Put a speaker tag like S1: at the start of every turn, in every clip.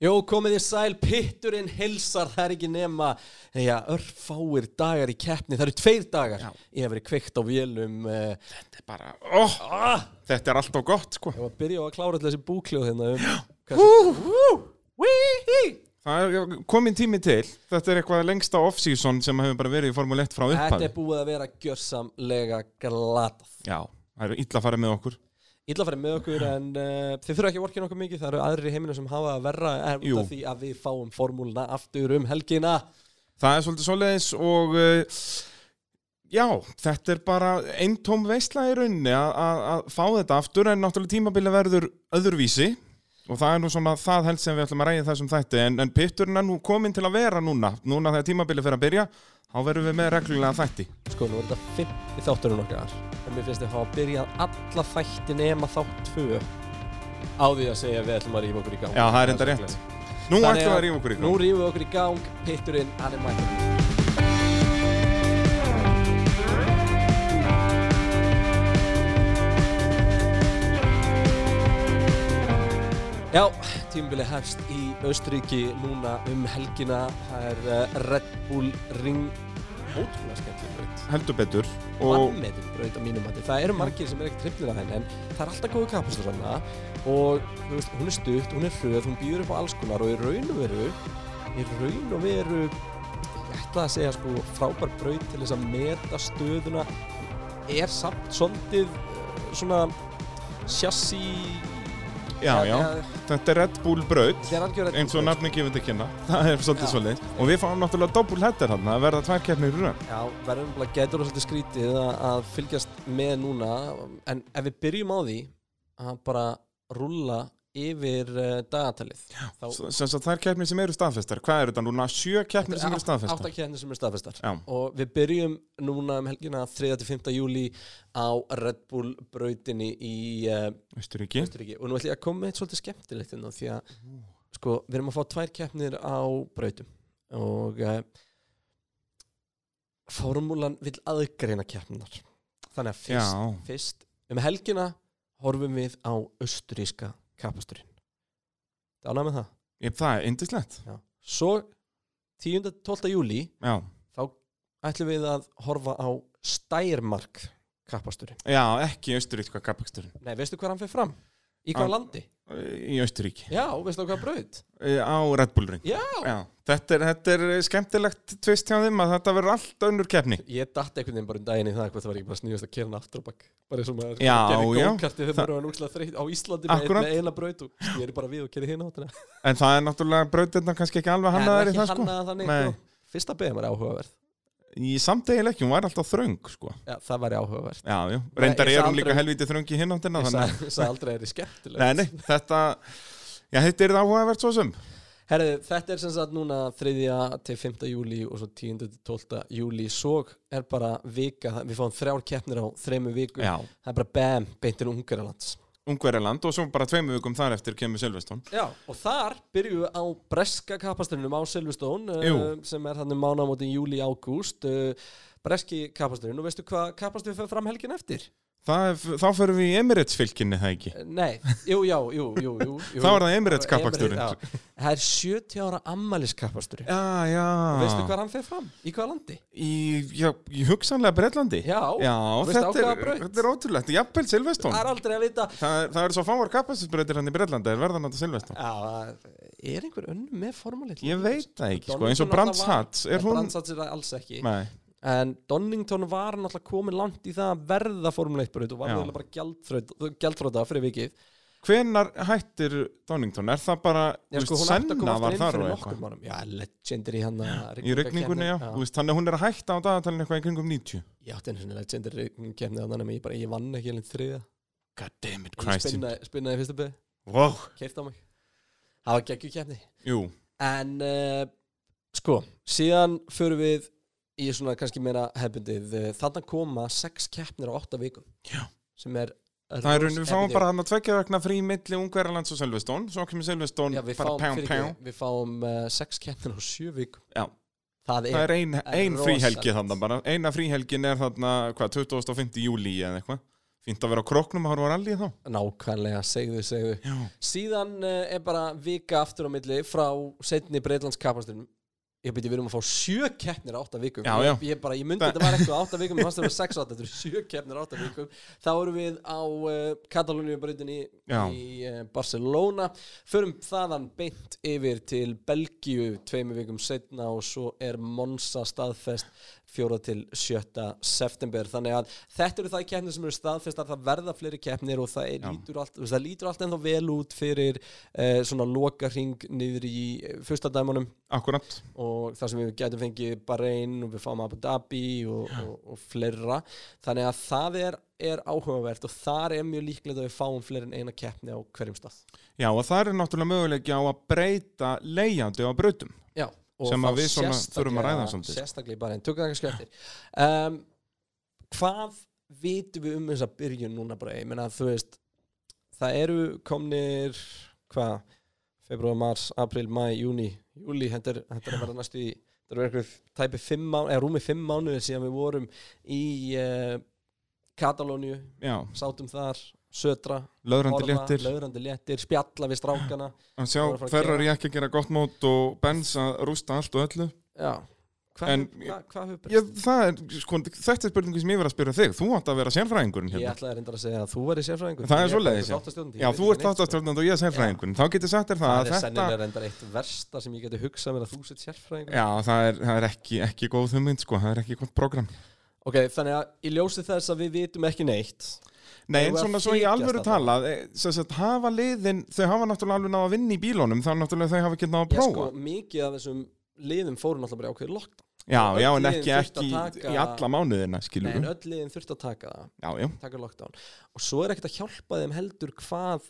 S1: Jó, komið þið sæl, pitturinn hilsar, það er ekki nema, já, örfáir dagar í keppni, það eru tveir dagar.
S2: Já.
S1: Ég hef verið kveikt á vélum, uh,
S2: Þetta er bara, óh,
S1: ah,
S2: þetta er alltaf gott, sko.
S1: ég var að byrja á að klára alltaf þessi búkljóð hérna um,
S2: Hú,
S1: hvað
S2: hú, hí. Það er komin tími til. Þetta er eitthvað lengsta off-season sem hefur bara verið í Formule 1 frá
S1: þetta
S2: upphafi.
S1: er búið að vera gjörsamlega glatað.
S2: Já, það er illa að fara með okkur.
S1: Ítla farið með okkur en uh, þið þurfa ekki að vorkina okkur mikið, það eru aðri í heiminum sem hafa að verra er út
S2: Jú.
S1: af því að við fáum formúluna aftur um helgina.
S2: Það er svolítið svoleiðis og uh, já, þetta er bara einn tóm veistla í rauninni að- að að fá þetta aftur en náttúrulega tímabilið verður öðruvísi og það er nú svona það helst sem við ætlum að ræða í þessum þætti en, en pitturinn er nú komin til að vera núna, núna þegar tímabilið fer að byrja þá verðum við með reglulega þætti
S1: Sko, nú er þetta fyrsti þátturinn okkar en mér finnst þið að hafa byrjað alla þætti nema þátt 2 á því að segja að við ætlum að rífa okkur í gang
S2: Já, það er enda rétt. Nú
S1: Þannig
S2: ætlum við að rífa okkur í
S1: Nú
S2: gang
S1: rífum við okkur í gang, pitturinn, hann er mættur Já, tímabili hefst í Östuríki núna um helgina það er eh, Red Bull Ring ótrúlega skemmtileg braut
S2: heldur betur og
S1: vannmetin braut á mínum hætti. Það eru margir sem er ekkert hrifnir af henni en það er alltaf góðu kapastur svona og þú veist, hún er stutt, hún er hröð, hún býður upp á alls konar og í raun og veru í raun og veru ég ætla að segja sko frábær braut til þess að meta stöðuna er samt svolítið eh, svona sjassi
S2: já, já, þetta er Red Bull braut
S1: þegar hann gjör
S2: eins og nafni gefur þetta kynna það er svolítið svoleiðis og við fáum náttúrulega doppul hættir hann að verða tvær keppnir í rauninni
S1: Já, verðum bara getur og svolítið skrítið að, að fylgjast með núna en ef við byrjum á því að bara rúlla yfir uh, dagatalið Já, þá
S2: sem sagt þær keppnir sem eru staðfestar hvað eru þetta núna? sjö keppnir sem eru staðfestar
S1: áttakennir sem eru staðfestar
S2: já,
S1: og við byrjum núna um helgina 3-5. júli á Red Bull brautinni í uh,
S2: Östuríki
S1: Östuríki og nú ætlum ég að koma með eitt svolítið skemmtilegt inn á því að sko, við erum að fá tvær keppnir á brautum og uh, formúlan vil aðgreina keppnar þannig að
S2: já,
S1: fyrst, fyrst um helgina horfum við á östuríska kapasturinn það ánæg með það
S2: ég, það er indislegt
S1: Já. svo 10.12. júli
S2: já.
S1: ætlum við að horfa á stærmark kapasturinn
S2: já, ekki Östuríkska kappaksturinn
S1: nei, veistu hvað hann fyrir fram? í hvað
S2: Á-
S1: landi?
S2: í Östuríki
S1: já, veistu á hvað braut?
S2: Eh, á Red Bull ring
S1: já,
S2: já. Þetta, er, þetta er skemmtilegt tvist hjá þeim að þetta verður allt önnur keppni
S1: Ég datt einhvern veginn bara um daginn í það hvað það var ekki bara sníðast að kera hann aftur á bakk bara eins og maður
S2: Já,
S1: gerði
S2: já.
S1: gókarti þegar
S2: Það-
S1: maður var núkslega þreytt á Íslandi með,
S2: Akkúrat.
S1: með eina braut og snýri bara við og kerði hinn áttina
S2: en það er náttúrulega brautirna kannski ekki alveg hannaðar í það sko
S1: hannaðar þannig
S2: Nei.
S1: sko. Fyrsta beðum er áhugaverð
S2: í samdegil ekki, hún var alltaf þröng sko
S1: Já, það væri áhugaverð
S2: já, já, reyndar
S1: ég
S2: er
S1: sagði
S2: hún líka
S1: aldrei-
S2: helvítið þröng í hináttina
S1: Ég
S2: þannig að-
S1: sa- ég sagði aldrei að það er skemmtilegt
S2: nei, nei, þetta já, þetta er það áhugavert svo sem
S1: Herðu, þetta er sem sagt núna 3. til 5. júli og svo 10. til 12. júli svo er bara vika, við fáum þrjár keppnir á þreymu viku,
S2: já,
S1: það er bara bam, beintir Ungaralands
S2: Ungverjaland og svo bara tveimu vikum þar eftir kemur Silveston
S1: Já, og þar byrjum við á breska kapasturinnum á Silveston
S2: Jú.
S1: sem er um þannig mánamóti í júli-ágúst Eh, breski kapasturinn og veistu hvað kapasturinn fyrir fram helgin eftir?
S2: Það er, þá förum við í Emirates fylkinni það ekki
S1: Eh, Nei, jú, já, jú, jú, jú, jú.
S2: Þá er það Emirates kappaksturinn Já,
S1: Emirates, já. Það er 70 ára ammæliskapasturinn
S2: já
S1: og veistu hvað hann fyrir fram? Í hvaða landi?
S2: Í, já, í hugsanlega Breitlandi
S1: Já,
S2: já
S1: veistu á
S2: þetta,
S1: hvaða
S2: er,
S1: braut?
S2: þetta er ótrúlegt Jafnvel Silveston
S1: það er aldrei að vita
S2: Það er, það er svo fáar kapasinsbreytir hann í Breitlandi en verða náttúrulega Silveston
S1: Já, það er einhver önnum með formuleitt?
S2: Ég veit það ekki, sko, eins og
S1: Donaldson
S2: Brands
S1: náttúrulega
S2: Hats Er hún
S1: Brandsats er það alls ekki
S2: Nei,
S1: En Donington var náttúrulega komin langt í það að verða Formule 1 braut og var
S2: Já.
S1: náttúrulega bara gjaldþraut- gjaldþróta fyrir vikið.
S2: hvenar hættir Donington? Er það bara,
S1: Já,
S2: þú
S1: sko,
S2: veist,
S1: hún ætti að
S2: Senna
S1: koma
S2: var
S1: aftur inn
S2: þar
S1: fyrir
S2: og
S1: nokkur
S2: eitthvað
S1: mánum. Já, legendary hann að
S2: Í regningunni, já, þú veist, þannig að hún er að hætta á dagatalinn eitthvað í kringum 90
S1: Ég átti einu sinni legendary kemni hann en ég bara, ég vann ekki alveg þriða.
S2: God damn it,
S1: Ég
S2: Christ
S1: spinnaði, spinnaði fyrsta beði,
S2: Wow
S1: keift á mig. Það var geggjú kemni.
S2: Jú,
S1: En uh, sko, síðan förum við í svona kannski meira hefbundið. Þarna koma sex keppnir á átta vikum.
S2: Já.
S1: Sem er
S2: Það er rauninu, við fáum
S1: rosa-
S2: bara hann að tvekja vegna frí milli Ungverjalands og Selvestón, svo kemur Selvestón
S1: Já, við
S2: bara
S1: fáum,
S2: pján,
S1: fyrir
S2: pján.
S1: ekki, við fáum uh, sex keppnir á sjö vikum
S2: Já.
S1: Það er,
S2: Það er ein,
S1: er
S2: ein fríhelgi
S1: rosalegt.
S2: þannig bara, eina fríhelgin er þarna, hvað, 25. júli eða eitthvað, Fynd að vera á kroknum að horfa á rallið þá.
S1: nákvæmlega, segðu, segðu
S2: Já.
S1: síðan uh, er bara vika aftur á milli frá setni Breitlands kapasturinn ég byrja við erum að fá sjö keppnir á átta vikum
S2: Já, já.
S1: Ég, ég, bara, ég myndi þetta var eitthvað á átta vikum ég fannst það var sex á átta, þetta eru sjö keppnir á átta vikum þá erum við á uh, Katalóniubrautin í,
S2: Já.
S1: í uh, Barcelona förum þaðan beint yfir til Belgíu tveimu vikum setna og svo er Monza staðfest 4. til 7. september þannig að þetta eru það keppnir sem eru staðfestar það verða fleiri keppnir og það, er,
S2: Já.
S1: lítur, allt, þú veist, það lítur allt ennþá vel út fyrir uh, svona loka hring niður í eh, fyrsta dæmunum
S2: Akkurat.
S1: og þar sem við getum fengið Bahrein og við fáum Abu Dhabi og, og, og fleira þannig að það er, er áhugavert og þar er mjög líklegt að við fáum fleiri en eina keppni á hverjum stað
S2: Já, og það er náttúrulega möguleiki á að breyta leigjandi á brautum.
S1: Já, og
S2: Sem að
S1: þá
S2: við svona þurfum að ræða
S1: sérstaklega-
S2: svolítið.
S1: Sérstaklega í Bahrein, tökum það kannski eftir um, Hvað vitum við um þessa byrjun núna bara, ég meina þú veist það eru komnir hvað, februar, mars, april, mæ, júni, júli, þetta er, þetta er að vera næstu í þetta er verið tæpi fimm mánu, eða rúmi fimm mánuðir síðan við vorum í uh, Katalóníu,
S2: Já,
S1: sátum þar södra,
S2: löðrandi léttir.
S1: löðrandi léttir spjalla við strákana
S2: Að sjá,
S1: Voru að fara að
S2: ferrar ég ekki að gera gott mót og Benz að rústa allt og öllu.
S1: Já, hvað
S2: En-
S1: hefur hva, hva hefur
S2: Já, það er, sko, þetta er spurningu sem ég verið að spyrja þig. Þú átt að vera sérfræðingurinn
S1: Ég
S2: hérna.
S1: ætlaði reyndar að segja að þú væri sérfræðingur
S2: Það er
S1: Ég
S2: svoleiðis,
S1: bara
S2: já.
S1: þáttastjórnandi, ég
S2: Já,
S1: veit
S2: þú
S1: ekki neitt,
S2: ert
S1: sko.
S2: þáttastjórnandi og ég er sérfræðingurinn. Þá getur sagt þér það
S1: Það
S2: að
S1: er
S2: þetta...
S1: sennilega reyndar eitt versta sem ég geti hugsað mér að þú sett sérfræðingur
S2: Já, það er, það er ekki, ekki góð hugmynd, sko. Það er ekki gott program.
S1: Ok, þannig að í ljósi þess að við vitum ekki neitt
S2: Nei,
S1: Eigum
S2: en
S1: við að
S2: svona svo í
S1: þykjast
S2: alvöru
S1: þarna?
S2: tala, e, sem sagt, hafa liðin, þau hafa náttúrulega alveg náða að vinna í bílónum, þá náttúrulega þau hafa ekki náða
S1: Ég
S2: að prófa.
S1: sko, mikið af þessum liðum fóru náttúrulega bara í ákveðið lokta
S2: já,
S1: öll
S2: já, en
S1: liðin
S2: ekki,
S1: þurftu
S2: ekki
S1: að
S2: í-
S1: taka-
S2: í alla mánuðina, skilur
S1: Nei, en
S2: við.
S1: öll liðin þurfti að taka það
S2: Já, já,
S1: taka lockdown og svo er ekkert að hjálpa þeim heldur hvað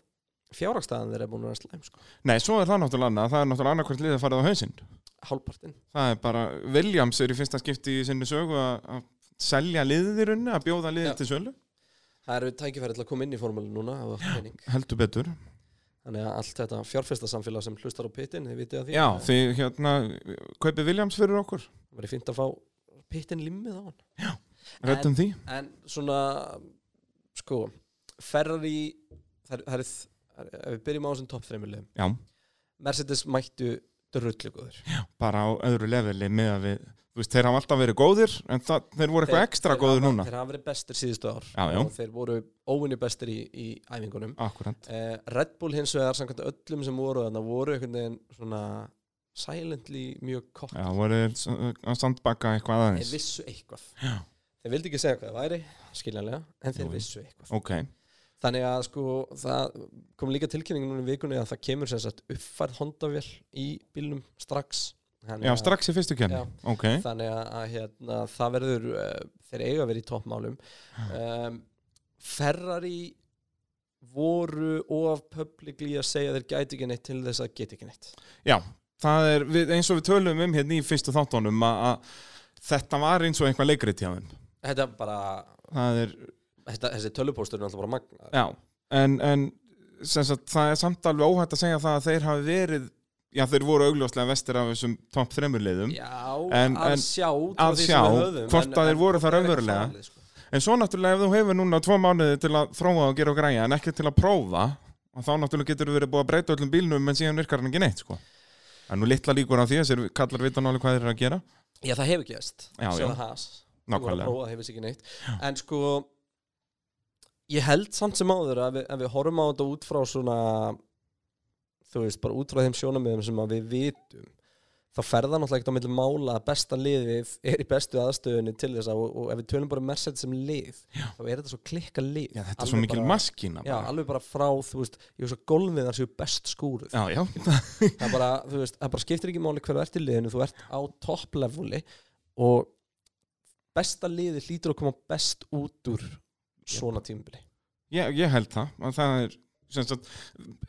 S1: fjárhagstæðan þeir eru búin að vera slæm sko.
S2: nei, svo er það náttúrulega annað, það er náttúrulega annað hvert liðið að fara á hausinn.
S1: hálpartinn
S2: Það er bara, Williams er í fyrsta skipti í sinni sögu að að selja liðið í runni, að bjóða liðið
S1: Já.
S2: til sölu,
S1: Það eru tækifæri til að koma inn í formúlinu núna ef þú átt pening.
S2: heldur betur.
S1: Þannig að allt þetta fjárfestasamfélag sem hlustar á pittin, þið vitið að því
S2: Já, því hérna, kaupið Williams fyrir okkur,
S1: Það væri fínt að fá pittin limmið á hann
S2: rettum því.
S1: en svona sko, Ferrari það það er, það er, ef við byrjum á þessum topp þreymulum,
S2: Já,
S1: Mercedes mættu drullugóður,
S2: bara á öðru leveli með að við, þú veist, þeir hafa alltaf verið góðir, en það, þeir voru eitthvað
S1: Þeir-
S2: ekstra góðir núna.
S1: þeir hafa verið bestir síðustu ár
S2: Hérna. Já, já.
S1: og þeir voru óvinni bestir í, í æfingunum
S2: Akkurat.
S1: eh, Red Bull hins vegar samkvæmt öllum sem voru þannig voru einhvern veginn svona silently mjög kott
S2: Já, voru þeir að sandbaka eitthvað
S1: þeir
S2: aðeins.
S1: vissu eitthvað
S2: Já.
S1: þeir vildi ekki segja hvað það væri, skiljanlega en þeir
S2: Jú.
S1: vissu eitthvað
S2: Ok,
S1: Þannig að sko, það kom líka tilkynning núna í vikunni að það kemur sem sagt uppfærð hondavél í bílnum strax. Þannig
S2: já,
S1: að-
S2: strax Eh? í fyrstu kemni.
S1: Já.
S2: Ok,
S1: Þannig að, að hérna, það verður, uh, þeir eiga að vera í toppmálum.
S2: Ah.
S1: Um, Ferrari voru of publicly að segja þeir gæti ekki neitt til þess að geta ekki neitt.
S2: það er við, eins og við tölum um hérna í fyrstu þáttunum að að þetta var eins og einhvað leikrit hjá þeim.
S1: Þetta er bara,
S2: Það er,
S1: þetta, þessi tölupóstur er alltaf bara magna.
S2: já, en, en sem sagt, það er samt alveg óhætt að segja það að þeir hafi verið, já, þeir voru augljóslega vestir af þessum topp þremur liðum. En-
S1: að
S2: en-
S1: sjá, út frá
S2: að
S1: því sem
S2: sjá
S1: við höfðum,
S2: hvort
S1: en-
S2: að þeir
S1: en
S2: voru
S1: hvort er
S2: það
S1: ekki
S2: raunverulega.
S1: farið, sko.
S2: En svo náttúrulega ef þú hefur núna tvo mánuði til að þróa og gera og græja, en ekki til að prófa, og þá náttúrulega getur þú verið búið að breyta öllum bílnum, en síðan virkar hann ekki neitt, sko. Það er nú litla líkur á því, þessir kallar vita nálega hvað þeir eru að gera.
S1: Já, það hefur gæst.
S2: Já, já.
S1: Sjáðu Haas. Þú voru að
S2: Nákvæmlega.
S1: prófa það hefur sér ekki neitt en sko ég held samt sem áður að við, að við horfum á þetta út frá svona þú veist, bara út frá þeim sjónamiðum sem að við vitum þá ferða náttúrulega ekkert á milli mála að besta liðið er í bestu aðstöðunni til þess að og, og ef við tölum bara um Mercedes sem lið já. þá er þetta svo klikka lið
S2: Já, þetta er svo mikil
S1: bara,
S2: maskína.
S1: Já,
S2: bara.
S1: alveg bara frá, þú veist, ég veist að golfmiðar séu best skúruð
S2: Já, já.
S1: það er bara, þú veist, það bara skiptir ekki máli hver þú ert í liðinu, þú ert á toppleveli og besta liði hlýtur að koma best út úr svona tímubili
S2: Ég, ég held það. að það er, sem sagt,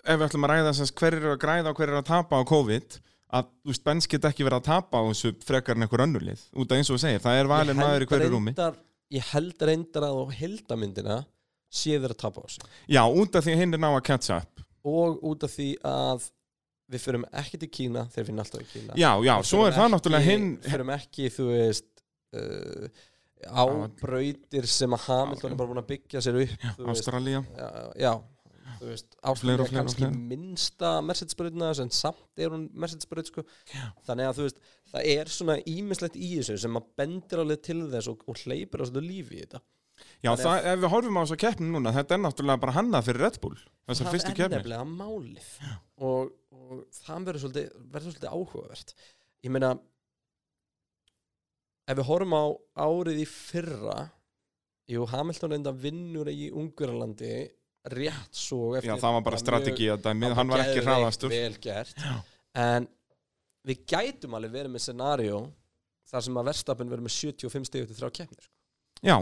S2: ef við ætlum að ræða sem sagt, hver eru að græða og hver eru að tapa á COVID, að þú veist, Benz get ekki verið að tapa á þessu frekar en einhver önnulið. Út af eins og þú segir, það er valin maður í hverju rúmi.
S1: reyndar, ég held reyndar að á heldamyndina sé þeir að tapa á þessu
S2: Já, út af því að hinn er ná að catch up.
S1: og út af því að við förum ekki til Kína þegar við erum alltaf í Kína
S2: Já, já,
S1: Við
S2: svo
S1: förum
S2: er það
S1: ekki-
S2: náttúrulega hinn,
S1: förum ekki, þú veist uh, á brautir sem að Hamilton er bara búin að byggja sér upp þú veist,
S2: Ástralía
S1: já, já þú veist, Ástralja
S2: Fleira og
S1: er
S2: fleira og
S1: kannski
S2: fleira.
S1: minnsta Mercedes-brautna en samt er hún Mercedes-braut sko. þannig að þú veist, það er svona ímislegt í þessu sem að bendir alveg til þess og, og hleypir á svona lífi í þetta
S2: Já,
S1: Þannig
S2: það, ef við horfum á þessa keppni núna, þetta er náttúrulega bara hannað fyrir Red Bull Þessar fyrstu
S1: það er
S2: keppni
S1: nefnilega málið og, og það verður svolítið, verður svolítið áhugavert ég meina ef við horfum á árið í fyrra jú, Hamilton enda vinnur í Ungurlandi rétt svo
S2: Já, það var bara strategi að dæmið, hann var ekki
S1: geðveikt
S2: hraðastur
S1: vel gert en við gætum alveg verið með scenario þar sem að verðstapin verið með 75 stegu til þrjá keppnir sko.
S2: Já,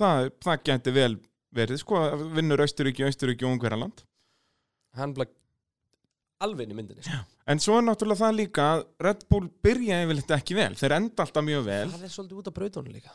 S2: það, það geti vel verið, sko, vinnur Austuríki, Austuríki og Ungverjaland
S1: hann blei alveg inn í myndinni sko.
S2: En svo er náttúrulega það líka að Red Bull byrja yfirleitt ekki vel, þeir enda alltaf mjög vel
S1: það er svolítið út af brautunum líka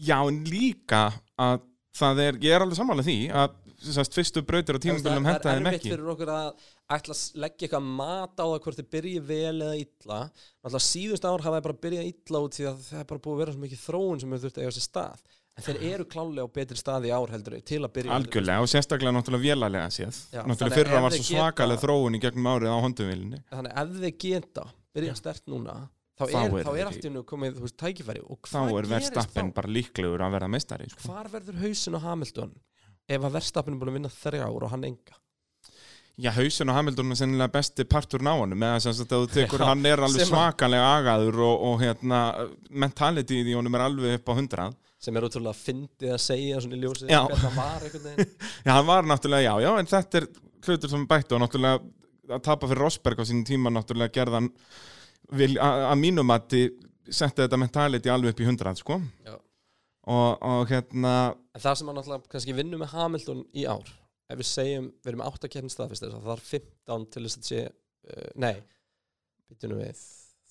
S2: Já, en líka að það er, ég er alveg sammála því að sem sagt, fyrstu brautir á tímabillum
S1: Það-
S2: henda þeim
S1: Það er
S2: ekki
S1: erfitt fyrir okkur að ætla að leggja eitthvað mat á það hvort þið byrji vel eða illa Náttúrulega síðust ár hafa þeir bara byrjað illa út því að það er bara búið að vera svo mikið þróun sem hefur þurft að eiga sér stað En þeir eru klálega á betri stað í ár heldur en til að byrja
S2: Algjörlega og sérstaklega náttúrulega vélalega séð
S1: Já, þannig að
S2: Náttúrulega fyrra
S1: ef
S2: var
S1: þeir
S2: svo
S1: geta-
S2: svakalega þróun í gegnum árið á honduvilinni
S1: Þannig ef þeir geta byrja stert núna þá
S2: Þá
S1: er,
S2: er
S1: þá er
S2: þeir í-
S1: allt í nú komið þú veist, tækifæri og
S2: Þá
S1: hvað
S2: er
S1: gerist
S2: verðstappin
S1: þá?
S2: bara líklegur að verða meistari sko.
S1: Hvar verður hausin á Hamilton ef að verðstappin er búin að vinna þrjá ár og hann enga?
S2: Já, hausin og Hamilton er sennilega besti partur á honum eða sem sagt að þú tekur,
S1: Já,
S2: hann er alveg
S1: sem að-
S2: svakalega agaður og, og hérna, mentality í honum er alveg upp á hundrað
S1: Sem er útrúlega fyndið að segja svona í ljósið
S2: Já.
S1: hvernig það var einhvern veginn
S2: Já, hann var náttúrulega, já, já, en þetta er hlutur sem bættu og náttúrulega að tapa fyrir Rosberg á sínum tíma náttúrulega gerðan vil, að að mínu mati setti þetta mentality alveg upp í hundrað, sko
S1: Já.
S2: og, og hérna,
S1: En það sem hann náttúrulega kannski vinnur með Hamilton í ár ef við segjum, við erum með 8 keppnir staðfist þess að það þarf 15 til þess að sé uh, nei, býtum við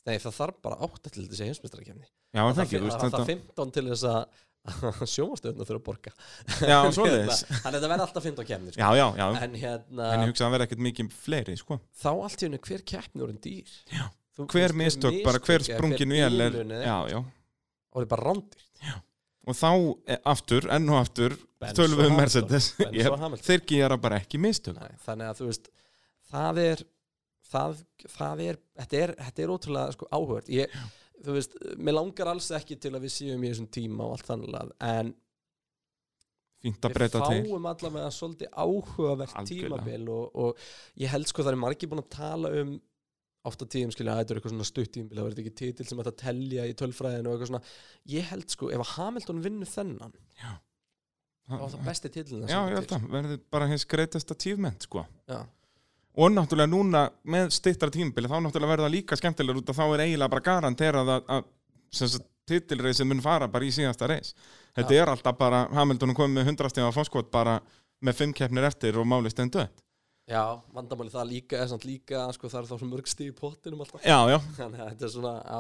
S1: nei, það þarf bara 8 til þess að sé heimsmyndstarakeppni
S2: já, það
S1: það
S2: ekki, þú
S1: það
S2: veist
S1: þarf
S2: þetta
S1: 15 til þess að sjómastöðuna þurfa að borga
S2: Já,
S1: Hérna,
S2: svoleiðis
S1: þannig að það verða alltaf 15 keppnir
S2: Já,
S1: sko.
S2: já, já, en
S1: en hérna,
S2: ég hugsa að það verði ekkert mikið fleiri, sko
S1: þá allt í hennu hver keppni orðin dýr já. Þú,
S2: Hver
S1: þú veist,
S2: mistök, bara hver
S1: mistök eða
S2: sprungin vél er,
S1: bilun eða
S2: já,
S1: eitthvað,
S2: já
S1: orðið bara rándýrt
S2: Og þá eh, aftur, enn og aftur,
S1: Benz
S2: tölum við
S1: og
S2: um
S1: Hamilton.
S2: Mercedes
S1: Benz
S2: Ég-
S1: og Hamilton.
S2: Þeir gera bara ekki mistök
S1: Nei, þannig að þú veist það er það, það er, þetta er, þetta er ótrúlega sko, áhört ég, þú veist, mér langar alls ekki til að við séum í þessum tíma og allt þannig en
S2: Fínt að
S1: við
S2: breyta til
S1: fáum allavega svolítið áhugavert
S2: Algjörlega.
S1: tímabil og, og ég held sko það er margir búin að tala um ofta tíðum skilja að þetta er eitthvað svona stutt tímabil það verður ekki titil sem þetta telja í tölfræðinu og eitthvað svona ég held sko ef að Hamilton vinnur þennan þá er það besti titilin
S2: Já, ég held að verði bara hins greitasta achievement sko.
S1: Já.
S2: og náttúrulega núna með stittra tímbili þá náttúrulega verður það líka skemmtilegur út að þá er eiginlega bara garanterað að, að sem sagt, titilreisið mun fara bara í síðasta reis þetta er alltaf bara Hamilton komið með 100 stíma fórskot bara með fimm keppnir eftir og máli stendu já,
S1: já, vandamáli það líka, er samt líka sko, það er þá svo mörg stíð í pottinum alltaf
S2: já,
S1: þannig að þetta er svona já.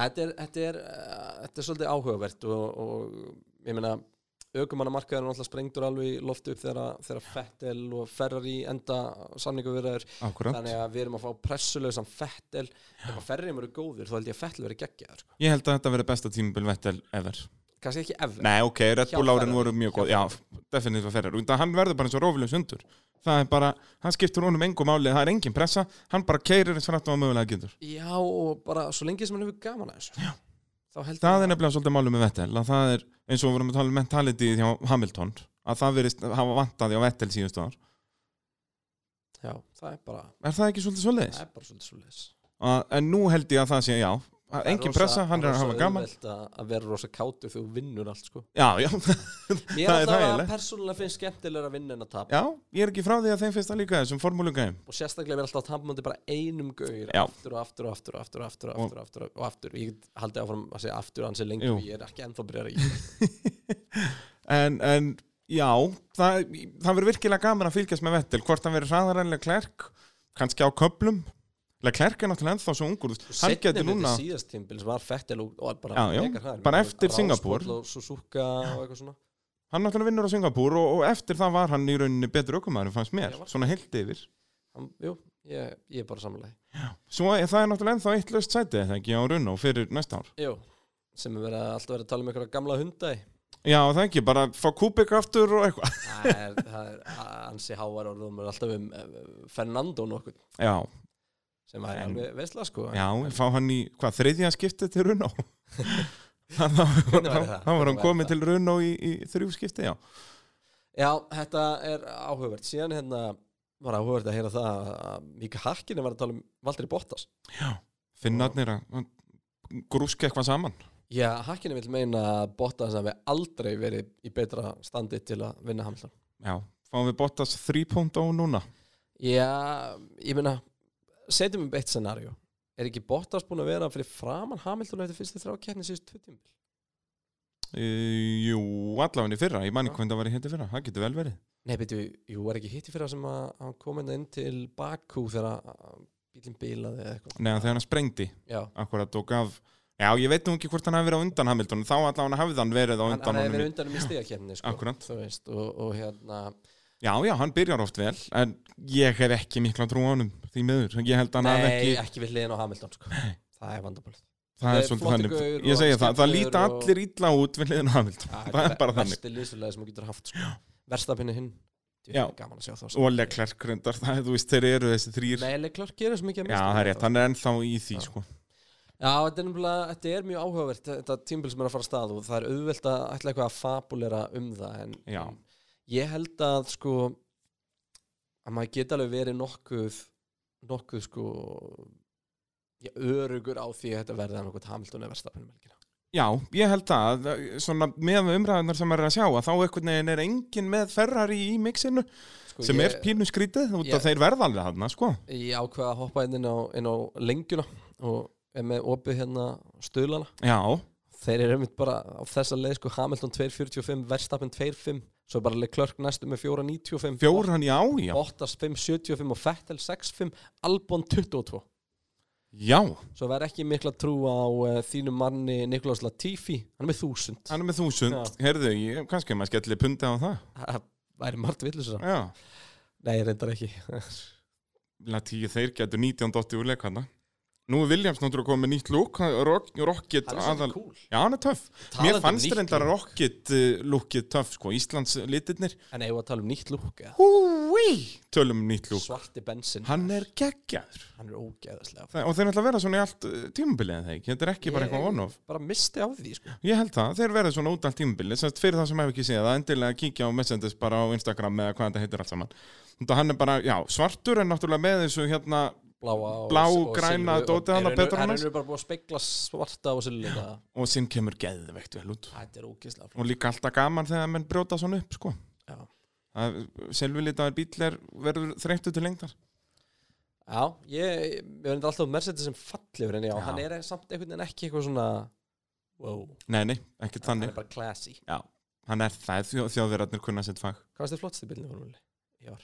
S1: þetta er, þetta er, uh, þetta er svolítið áhugavert og, og ég meina aukumannamarkaður er náttúrulega sprengdur alveg í loft upp þegar, að- þegar að Fettel og Ferrari enda samningavirðar
S2: akkurat
S1: þannig að við erum að fá pressulausan Fettel ef að Ferrari eru góður þá held ég að Fettel verið geggjaður sko.
S2: ég held að þetta verði besta tímbil Vettel ever
S1: kannski ekki ever
S2: nei, ok, Red
S1: Hjá
S2: Bull árin
S1: Ferrari.
S2: voru mjög
S1: Hjá
S2: góð já, definitíva ferrar, undan hann verður bara eins og rófilegs undur það er bara, hann skiptur honum engum máli, það er engin pressa, hann bara keirir eins frætt og hann mögulega getur
S1: já og bara svo lengi sem hann hefur gaman að þessu já. þá held ég
S2: það
S1: að-
S2: er nefnilega svolítið málum með Vettel að það er eins og við vorum að tala um mentality hjá Hamilton að það verist hafa vantaði á Vettel síðustu ár
S1: já, það er bara,
S2: er það ekki svolítið svolítið
S1: það er bara svolítið svolítið
S2: að, en nú held ég að það sé já
S1: Það er
S2: engin
S1: rosa-
S2: pressa, hann er að
S1: rosa
S2: hafa gaman
S1: auðvelt að að vera rosa kátur þegar þú vinnur allt sko
S2: já, já,
S1: Ég er
S2: Það er
S1: alltaf að
S2: þægilegt.
S1: persónulega finnst skemmtilega að vinna en að tapa
S2: já, ég er ekki frá því að þeim finnst það líka þessum formúlugæðum
S1: og sérstaklega er alltaf að tapa múti bara einum gauður
S2: Já.
S1: aftur og aftur og aftur og aftur og aftur og aftur og aftur og aftur ég get haldið áfram að segja aftur hans er lengi
S2: Jú.
S1: og ég er ekki ennþá byrjar í því.
S2: en, en já, það, það verður virkilega gaman að fylgjast með Vettel hvort hann verður hraðar en Leclerc kannski á köplum Leclerc er náttúrulega ennþá svo ungur hann
S1: Sko, Seinni
S2: getur
S1: hluti
S2: núna
S1: síðast tímbil sem var fettil og, og bara
S2: Já, já.
S1: mega hraður.
S2: Bara
S1: Ég meina,
S2: eftir
S1: Rásbóll
S2: Singapore.
S1: og Suzuka og eitthvað svona
S2: hann náttúrulega vinnur á Singapúr og, og eftir það var hann í rauninni betur ökumæður fannst mér,
S1: Já, var-
S2: svona heilt yfir
S1: Hann- Jú, ég, ég er bara samanlega
S2: Svo er það er náttúrulega ennþá eitt laust sæti eða ekki á Runó fyrir næsta ár
S1: Jú, sem er verið að alltaf verið að tala um einhverja gamla hunda í.
S2: Já, það ekki, bara fá kúbik aftur og eitthvað.
S1: það er, það er ansi háar orðum er alltaf um eh, Fernando nokkuð
S2: Já,
S1: sem er
S2: En-
S1: alveg veistla sko
S2: já, fá hann í, hvað, þriðja skiptið til Runó? Þannig
S1: Hvernig væri
S2: að
S1: það?
S2: þá var hann
S1: Hvernig væri
S2: komið
S1: það?
S2: til Runó í, í þrjú skiptið, já.
S1: Já, þetta er áhugavert síðan hérna var áhugavert að heyra það að Mika Harkinni var að tala um Valdri Bottas
S2: Finnarnir að grúska eitthvað saman.
S1: Já, Harkinni vil meina að Bottas hafi aldrei verið í betra standi til að vinna Hamilton
S2: Já, fáum við Bottas 3.0 núna.
S1: Já, ég meina setjum um eitt scenario er ekki Bottas búin að vera fyrir framan Hamilton eftir fyrstu þrjá keppni síðust tvö tímbil
S2: E, jú, allavega í fyrra, ég man ekki hvernig það var í hindi fyrra, það getur vel verið.
S1: Nei, byrju, jú, var ekki hitti fyrir það sem að hann kom hérna inn til Bakú þegar að bílinn bílaði eða eitthvað
S2: Nei, þegar hann sprengdi,
S1: Já,
S2: akkurat og gaf Já, ég veit nú ekki hvort hann hafi verið á undan Hamilton þá allavega hafði hann verið á
S1: hann,
S2: undan
S1: hann hefði
S2: honum
S1: verið
S2: í-
S1: undanum í stíðakeppni sko,
S2: Akkúrat.
S1: þú veist, og, og hérna
S2: Já, já, hann byrjar oft vel en ég hef ekki mikla trú á honum því miður, ég held að hann hafi
S1: Nei,
S2: ekki
S1: ekki, við hliðin á Hamilton sko. það er vandabólið
S2: það
S1: Nei,
S2: er svolítið
S1: flottur
S2: þannig,
S1: gaur og
S2: ég segja það það
S1: skemmtilegur
S2: líta
S1: og-
S2: allir illa út við liðin á Hamilton það er bara þannig,
S1: Versti lýsfélagi sem þú getur haft sko. Verstapinni hinn, Djú,
S2: Já.
S1: gaman að sjá þá sko.
S2: og Leclerc reyndar, það er, þú veist, þeir eru þessi þrýr Já,
S1: Nei, Leclerc gerir svo mikið að
S2: það er rétt, hann er ennþá í því
S1: Já.
S2: sko.
S1: Já, þetta er, nefnilega- þetta er mjög áhugavert þetta tímbil sem er að fara af stað og það er auðvelt að ætla eitthvað að fabulera um það en
S2: Já.
S1: en ég held að sko að maður geta alveg verið nokkuð nokkuð sko já, örugur á því að þetta verði að nokkuð Hamilton eða verðstafnum helgina
S2: Já, ég held að, svona með umræðunar sem maður er að sjá, að þá einhvern veginn er engin með Ferrari í mixinu
S1: sko,
S2: sem
S1: ég,
S2: er pínu skrítið, út
S1: Ég-
S2: að þeir verða alveg hann, sko.
S1: Ég ákveða að hoppa inn á, inn á lengjuna og er með opið hérna stöðlana
S2: Já,
S1: Þeir eru einmitt bara á þessa leið sko Hamilton 2.45, Verstappen 2.5 svo er bara Leclerc næstu með 4.95
S2: Fjóran, já, já.
S1: Bottas 5.75 og Vettel 6.5 Albon 22
S2: Já,
S1: svo verð ekki mikla trú á uh, þínum manni Nikolás Latifi hann er með 1000
S2: hann er með þúsund. Herðu, ég, kannski maður skellir punta á það.
S1: það væri margt villus
S2: Já,
S1: nei, reyndar ekki
S2: Latíu, þeir getur 19 dotti úr leikana. Nú er Williams náttúrulega komið með nýtt lúk, hann- Rock- Rocket aðal...
S1: cool
S2: Já, hann er töff.
S1: Talandi
S2: Mér
S1: um
S2: fannst
S1: nýtt
S2: reyndar Rocket uh, lúkið töff, sko, Íslands litirnir.
S1: en eigum við að tala um nýtt lúk eða?
S2: Húi! Tölum um nýtt lúk.
S1: svarti bensin
S2: Hann er geggjaður.
S1: hann er ógeðaslega
S2: Það- Og þeir ætla að vera svona í allt tímubilið eða ekki, þetta er ekki bara
S1: Ég-
S2: eitthvað on-off.
S1: bara misti á því sko.
S2: Ég held það, þeir verða svona út allt tímabili sem sagt, fyrir það sem hef ekki séð, að endilega kíkja á Messendis bara á Instagram eða hvað þetta heitir allt saman Þetta hann er bara, já, svartur en náttúrulega með þessu hérna
S1: bláa og,
S2: Blá,
S1: og
S2: græna
S1: silfur og-
S2: dótið hann á
S1: Í raun-
S2: Petronas.
S1: í raun er bara búið að spegla svarta og silvita
S2: og sinn kemur geðveikt vel út
S1: þetta er ógeðslega flott.
S2: og líka alltaf gaman þegar menn brjóta svona upp, sko
S1: Já.
S2: Selvillitaður bíl er, verður þreyttu til lengdar
S1: Já, ég, ég verður alltaf Mercedes sem fallifur en já,
S2: Já.
S1: hann er samt einhvern veginn ekki eitthvað svona wow,
S2: Nei, nei, ekkert
S1: hann er
S2: þannig
S1: bara classy
S2: Já, hann er það, þjó, þjóðverðarnir kunna sitt fag
S1: Hvað varst þið flottstu bílni formúli? í ár?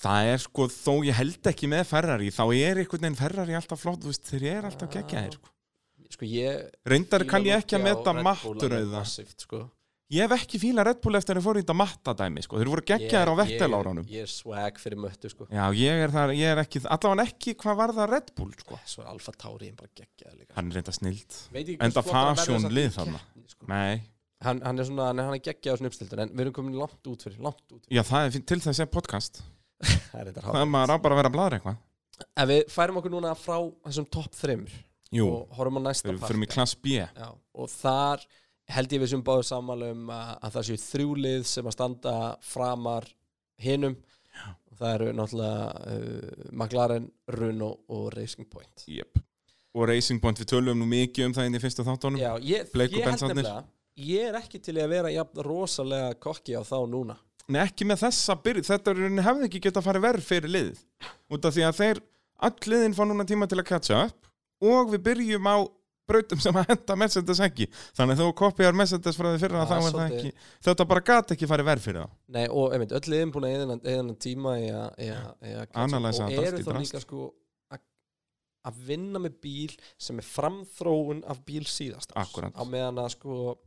S2: Það er sko, þó ég held ekki með Ferrari, þá er einhvern veginn Ferrari alltaf flott, þú veist, þeir er alltaf
S1: Já.
S2: geggjaðir sko.
S1: Sko ég
S2: Reyndar kann ég
S1: fíla
S2: ekki að
S1: Loki á
S2: meta
S1: Red Bull alveg
S2: matturauða
S1: massíft, sko.
S2: Ég hef ekki fíla Red Bull eftir að þeir fóru í þetta mattadæmi sko. Þeir voru geggjaðir
S1: Ég-
S2: á
S1: ég-
S2: vettelárunum
S1: Ég er swag fyrir möttu sko
S2: Já, ég er, þar, ég er ekki, allavega ekki hvað var það Red Bull sko.
S1: Svo er Alfa Tauri bara geggjaði líka
S2: Hann er reynda snild
S1: Veit ekki
S2: Enda
S1: hvort hann verður
S2: fashion
S1: samt í
S2: lið þarna.
S1: keppni, sko.
S2: Nei,
S1: hann, hann er svona, hann er, hann er geggjaði á svona uppstiltun En við erum komin langt út fyrir, langt út fyrir
S2: já það er fínt- til þess að podcast
S1: Það er þetta
S2: Það er maður á bara að vera að bladra eitthvað
S1: En við færum okkur núna frá þessum topp þreymur
S2: Jú,
S1: og horfum á næsta
S2: þeir fyrir mig klass B
S1: Já, og þar held ég við sem báðu sammála um að, að það séu þrjúlið sem að standa framar hinum og það eru náttúrulega uh, McLaren, Runo og Racing Point
S2: yep. Og Racing Point, við tölum nú mikið um það inn í fyrsta þáttunum
S1: Já, ég,
S2: Blake og
S1: ég held
S2: Bensarnir.
S1: nefnilega ég er ekki til í að vera jafn rosalega kokki á þá núna
S2: Nei, ekki með þessa byrð, þetta er- hefði ekki getað að fara verð fyrir lið út af því að þeir, all liðin fá núna tíma til að catch up og við byrjum á brautum sem að henda Mercedes ekki þannig að þú kopjar Mercedes frá því fyrir
S1: Það
S2: að þá
S1: er
S2: er það
S1: svolítið-
S2: ekki þetta bara gat ekki farið verð fyrir það
S1: Nei, og einmitt, öll liðin búin að eða eðan tíma í að- í að- í að catch up.
S2: Analysa
S1: og
S2: þetta allt
S1: eru
S2: í
S1: þá
S2: drast.
S1: líka sko að- að vinna með bíl sem er framþróun af bíl síðast árs.
S2: Akkúrat.
S1: á meðan að sko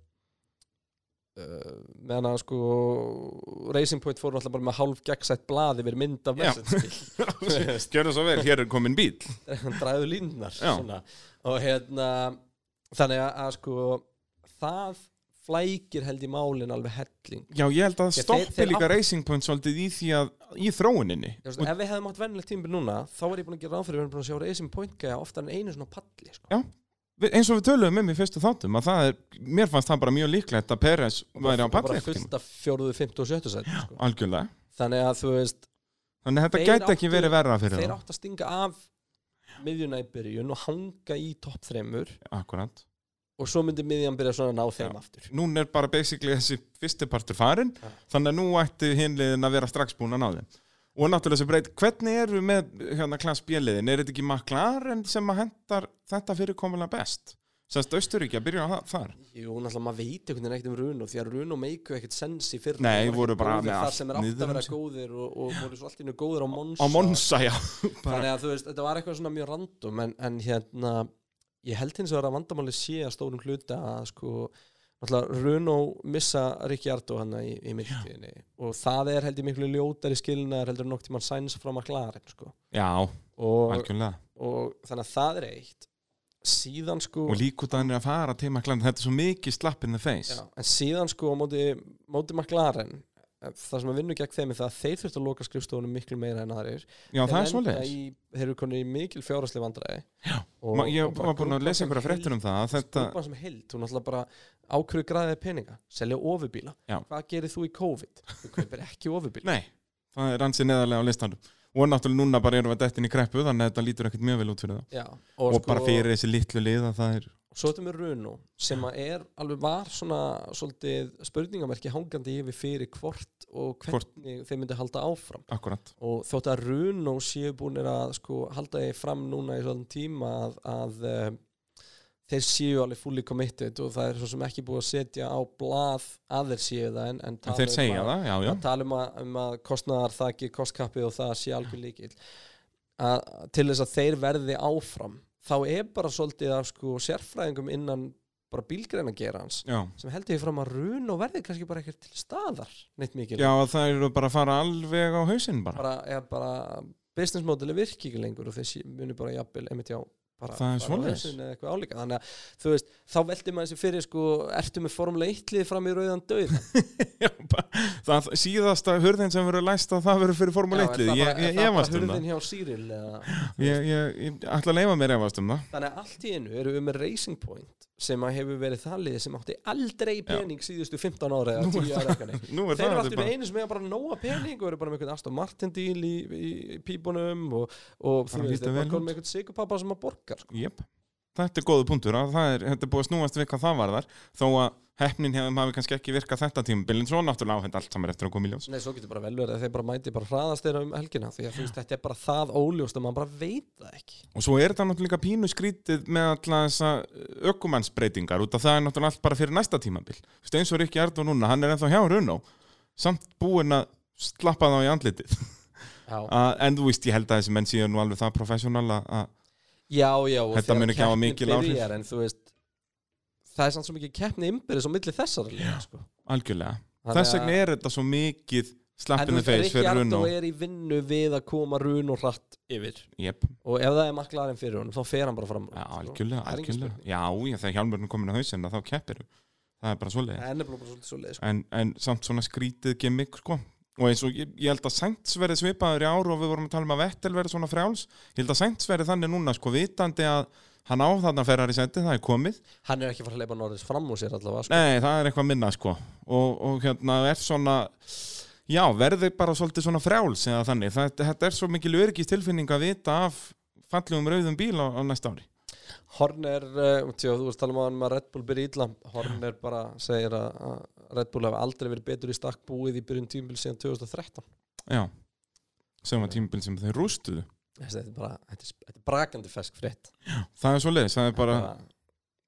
S1: Uh, meðan að sko Racing Point fóru alltaf bara með hálf gegnsætt blaði verið mynd af
S2: Já.
S1: Mercedes
S2: Gjörðu svo vel, hér er komin bíl
S1: hann dræðu línunar
S2: Já.
S1: svona. og hérna þannig að, að sko það flækir held í málin alveg helling
S2: Já, ég held
S1: Ég,
S2: að
S1: þeir-
S2: stoppi
S1: þeir
S2: líka
S1: átt-
S2: Racing Point svolítið í því að í þróuninni
S1: Ég veist,
S2: og,
S1: ef við hefðum átt venjulegt tímabil núna þá er ég búin að gera ráð fyrir við erum búin að sjá Racing Point gæja oftar en einu svona palli sko.
S2: Já, við- eins og við töluðum um í fyrstu þáttum að það er, mér fannst það bara mjög líklegt að Peres væri á
S1: Og bara
S2: palli einhvern
S1: fullt af fjóruðu, fymtu og sjöttu sæti sko.
S2: tímann. algjörlega,
S1: þannig að þú veist
S2: þannig að þetta
S1: Þeir
S2: gæti ekki
S1: áttu-
S2: verið verra fyrir
S1: þeir
S2: það,
S1: átt að stinga af miðjuna í byrjun og hanga í topp þremur
S2: akkurat
S1: og svo myndi miðjan byrja svona að ná þeim
S2: Já.
S1: aftur
S2: Nún er bara basically þessi fyrsti partur farin
S1: Já.
S2: þannig að nú ætti hinliðin að vera strax búin að ná þeim og náttúrulega þessi breyt, hvernig eru með hérna klass bjöliðin, er þetta ekki McLaren sem að hendar þetta fyrirkomulega best semst Austuríkja, byrja á það þar
S1: Jú, náttúrulega maður veit einhvern veginn ekkert um Runo því að Runo meiku ekkert sens í fyrir
S2: Nei, voru bara með
S1: þar
S2: allt
S1: sem er átt
S2: niður
S1: að vera
S2: um sig.
S1: góðir og, og voru svo allt innu góðir á Monsa
S2: á Monsa, já, bara,
S1: þannig að þú veist, þetta var eitthvað svona mjög random en, en hérna, ég held hins vegar að vandamáli sé að stórum hluta að sko, náttúrulega Runo missa Ricciardo hann í, í myndtíðinni og það er held ég miklu ljótari skilnaðar heldur nokk tímann sæns frá McLaren sko.
S2: já,
S1: og,
S2: algjörlega
S1: og þannig að það er eitt síðan sko
S2: og líkútaðan er að fara til McLaren þetta er svo mikið slapp in the face
S1: Já, en síðan sko á móti, móti McLaren eh, það sem að vinnu gegn þeim er það að þeir þurftu að loka skrifstofunum miklu meira en aðrir
S2: Já, það er
S1: Þeir enda
S2: svoleiðis.
S1: í- Þeir eru konir í mikil fjárasli vandræði
S2: Ma- Ég var búin að lesa einhverja fréttur um það að þetta,
S1: Þetta... Skrúpan sem held, hún alltaf bara ákveður græðið peninga, selja ofurbíla
S2: Já.
S1: Hvað gerir þú í COVID? Þú kaupir ekki ofurbíla
S2: nei, það er ansið neðarlega á listanum og náttúrulega núna bara erum við dettin í kreppu þannig að þetta lítur ekkert mjög vel út fyrir það
S1: Já, og,
S2: og, sko- bara fyrir þessi litlu lið að það er
S1: og Svo þetta með Runo sem að er alveg var svona svolítið spurningamerki hangandi yfir fyrir hvort og
S2: Hvort.
S1: hvernig þeir myndi halda áfram
S2: akkurat
S1: og þótt að Runo séu búinir að sko, halda því fram núna í svona tíma að, að um, þeir séu alveg fully committed og það er svo sem ekki búið að setja á blað að þeir séu það en, en
S2: en þeir segja það, já, já,
S1: að tala um að, um að kostnaðar það ekki kostkappið og það sé algjör líkil að, til þess að þeir verði áfram þá er bara svolítið að sko, sérfræðingum innan bara bílgreina gerans
S2: já
S1: sem heldur því fram að Runo verði kannski bara ekkert til staðar neitt mikil
S2: Já, að það eru bara að fara alveg á hausinn bara.
S1: bara, eða bara business modeli virki ekki lengur og þessi muni bara jafnvel einmitt já bara,
S2: Það er
S1: bara
S2: svoleiðis.
S1: hausinn eða eitthvað álíka þannig að þú veist, þá veldi maður sér fyrir sko, ertu með formulega eittlið fram í rauðan döð
S2: Já, bara það, síðasta hurðin sem verður læst að það verður fyrir formuleitlið, ég, ég efast um það
S1: hjá Cyril eða
S2: ég, ég, ég ætla að leifa mér efast um það
S1: þannig að allt í einu eru við með Racing Point sem að hefur verið það lið sem átti aldrei pening síðustu 15 ára eða
S2: Nú er
S1: 10 ára eitthvað neitt.
S2: Nú er
S1: Þeir
S2: það
S1: eru
S2: þetta
S1: alltaf bara... einu sem hefur bara nóa pening og eru bara með einhvern Aston Martin díl í, í, í pípunum og, og þú
S2: Bara
S1: veist,
S2: líta
S1: þeir eru
S2: vel
S1: bara
S2: út.
S1: konum með einhvern sigurpappa sem að borga sko.
S2: Jep. Þetta er góðu punktur að það er, þetta er búið að snúast við hvað það varðar þó að hefnin hefðum hafi kannski ekki virkað þetta tímabilin svo náttúrulega á þetta allt saman eftir að koma í ljós
S1: Nei, svo getur bara vel verið að þeir bara mæti bara hraðast þeirra um helgina því að þú veist, þetta er bara það óljóst að maður bara veit það ekki
S2: og svo er þetta náttúrulega líka pínu skrítið með alla þessa eh, ökumannsbreytingar út af það er náttúrulega allt bara fyrir næsta tímabil Þú veist, eins og Rikki Ardó núna, hann er ennþá hjá Runó samt búinn að slappa þá í andlitið
S1: Já,
S2: að, en þú veist, ég held að þessi menn séu nú alveg það professional að, að
S1: já, já og
S2: Þetta
S1: þegar
S2: mun ekki hafa
S1: keppnin
S2: mikil áhrif.
S1: byrjar, En þú veist, það er samt svo mikið keppni ymbirðis á milli þessar líka, sko.
S2: algjörlega
S1: Þannig
S2: þess
S1: að-
S2: vegna er þetta svo mikið
S1: En þú
S2: slappinu
S1: veist,
S2: feis fyrir
S1: Ricciardo
S2: Runó
S1: er í vinnu við að koma run og hratt yfir
S2: yep.
S1: og ef það er maklarinn fyrir honum, þá fer hann bara fram úr,
S2: Já,
S1: sko.
S2: algjörlega,
S1: Það er engin
S2: algjörlega
S1: spurning.
S2: Já, já, þegar hjálmurinn er komin á hausinn að þá keppir þú. Það er bara svoleiði
S1: Það er nefnilega bara svolítið svo leið sko.
S2: en, en samt svona skrítið gimmick sko Og eins og ég, ég held að Sainz verði svipaður í ár og við vorum að tala um að Vettel verði svona frjáls Ég held að Sainz verði þannig núna sko vitandi að hann á þarna ferrar í sendi, það er komið
S1: Hann er ekki að fara að leipa Norris fram úr sér allavega sko.
S2: Nei, það er eitthvað minna sko og, og hérna er svona já, verði bara svolítið svona frjáls eða þannig, þetta, þetta er svo mikil öryggis tilfinning að vita af fallegum rauðum bíl á, á næsta ári
S1: Horner, uh, tjó, þú veist tala um að hann með Red Bull byrja illa Horner bara segir að, að Red Bull hefur aldrei verið betur í stakk búið í byrjun tímbil síðan 2013
S2: Já, sem var tímabil sem þeir rústuðu
S1: Þessi, þetta, er bara, þetta, er, þetta er brakandi fesk frétt
S2: Það er svo leiðis, það er bara,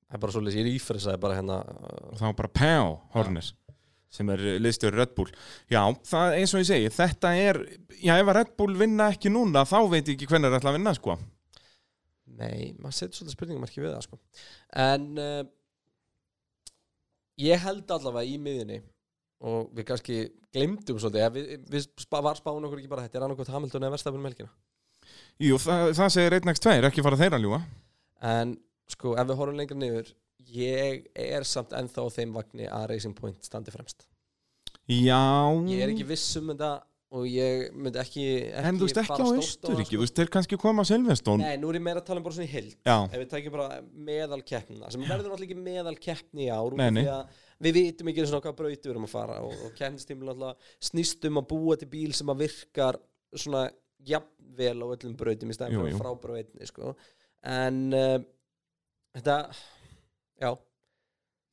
S1: það er bara svolítið, ég ífrisaði bara hérna uh,
S2: og þá bara Pau Horner sem er liðstjóri Red Bull Já, það eins og ég segi, þetta er já, ef að Red Bull vinna ekki núna þá veit ég ekki hvernig er ætla að vinna sko
S1: nei, maður setur svolítið spurningamarki við það sko. en uh, ég held allavega í miðinni og við kannski glemdum svolítið, eða við, við spa, var spáin okkur ekki bara þetta er annarkvæmt Hamilton eða um verstafun melkina
S2: Jú, það, það segir 1x2, ekki fara þeir að ljúa
S1: en sko ef við horfum lengra niður ég er samt ennþá á þeim vagni að Racing Point standi fremst
S2: Já
S1: ég er ekki viss um þetta og ég myndi ekki, ekki
S2: En þú veist ekki
S1: fara
S2: á
S1: stórt það,
S2: Austuríki,
S1: sko.
S2: þú veist, þeir kannski koma á Silvestón
S1: Nei, nú er ég meira að tala um bara svona í heild
S2: Já,
S1: ef við tækjum bara meðalkeppnina sem verður náttúrulega ekki meðalkeppni í ár út
S2: Nei,
S1: af
S2: nei.
S1: því að við vitum ekki einu sinni á hvaða braut við erum að fara og, og keppnistímul náttúrulega snýst um að búa til bíl sem að virkar svona jafnvel á öllum brautum í stæðum
S2: Jú,
S1: fyrir
S2: jú.
S1: að frábara á einni sko. en uh, þetta já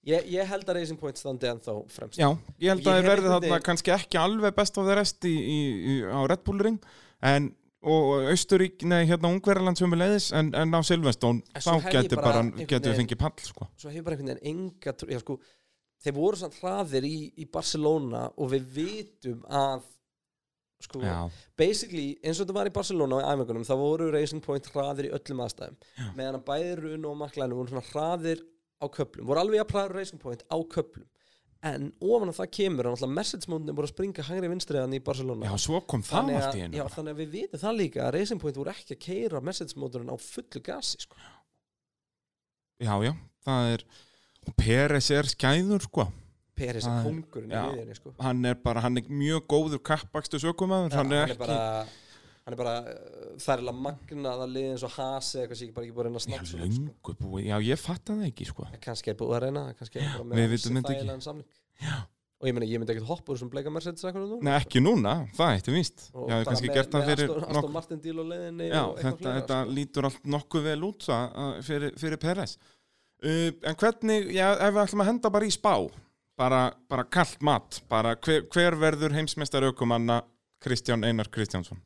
S1: ég, ég held að Racing Point standi ennþá fremst
S2: já, ég held
S1: Ég
S2: að þeir
S1: hef
S2: verði
S1: einhvern
S2: þarna
S1: veginn-
S2: kannski ekki alveg best of the rest í, í, í, á Red Bull ring en, og Austurík, nei, hérna Ungverjaland sem við leiðis en, en á Silvestón,
S1: En
S2: þá
S1: svo hef ég
S2: getur
S1: bara
S2: bara,
S1: einhvern
S2: getur
S1: veginn-
S2: fengið pall sko.
S1: svo hefur bara einhvern veginn enga trú, já, sko, þeir voru samt hraðir í, í Barcelona og við vitum að sko,
S2: Já,
S1: basically, eins og þetta var í Barcelona og í æfingunum, þá voru Racing Point hraðir í öllum aðstæðum,
S2: Já.
S1: meðan að bæði Rune og McLaren voru svona hraðir á köplum voru alveg að hraðir Racing Point á köplum en ofan að það kemur að náttúrulega message-móndin voru að springa hægri vinstriðan í Barcelona
S2: já, svo kom það
S1: hérna. þannig,
S2: allt
S1: að,
S2: í einu
S1: já,
S2: bara.
S1: þannig að við vitum það líka að Racing Point voru ekki að keira message-móndurinn á fullu gasi sko.
S2: Já, já, það er og Peres er skæður, sko
S1: Peris er
S2: Það er-
S1: kongurinn í
S2: já.
S1: viðinni sko.
S2: hann er bara, hann er mjög góður kappakstu sökumæður,
S1: Já,
S2: hann er
S1: hann er
S2: ekki
S1: bara hann er bara uh, þærlega magnað að liða eins og hasi eitthvað sem ég get bara ekki búið að reyna að
S2: Já,
S1: snakka svo langt,
S2: löngu búið, já, ég fatt það ekki, sko
S1: sko. kannski er búið að reyna það, kannski er bara
S2: við
S1: með
S2: vitum þetta ekki.
S1: þægilegan samning og ég meina ég myndi ekkert hoppa úr sem bleika Mercedes eitthvað núna
S2: Nei, ekki núna, það eitt er víst
S1: Og
S2: Já, ég
S1: bara
S2: kannski
S1: með-
S2: gert það
S1: með
S2: fyrir
S1: Aston,
S2: nokk-
S1: Aston Martin díl og leiðinni
S2: Já,
S1: og eitthvað
S2: þetta,
S1: fleira,
S2: þetta
S1: sko.
S2: lítur allt nokkuð vel út það, að- fyrir, fyrir Peres uh, En hvernig, já, ef við ætlum að henda bara í spá bara, bara kallt mat bara hver, hver verður heimsmeistar aukumanna Kristján Einar Kristjánsson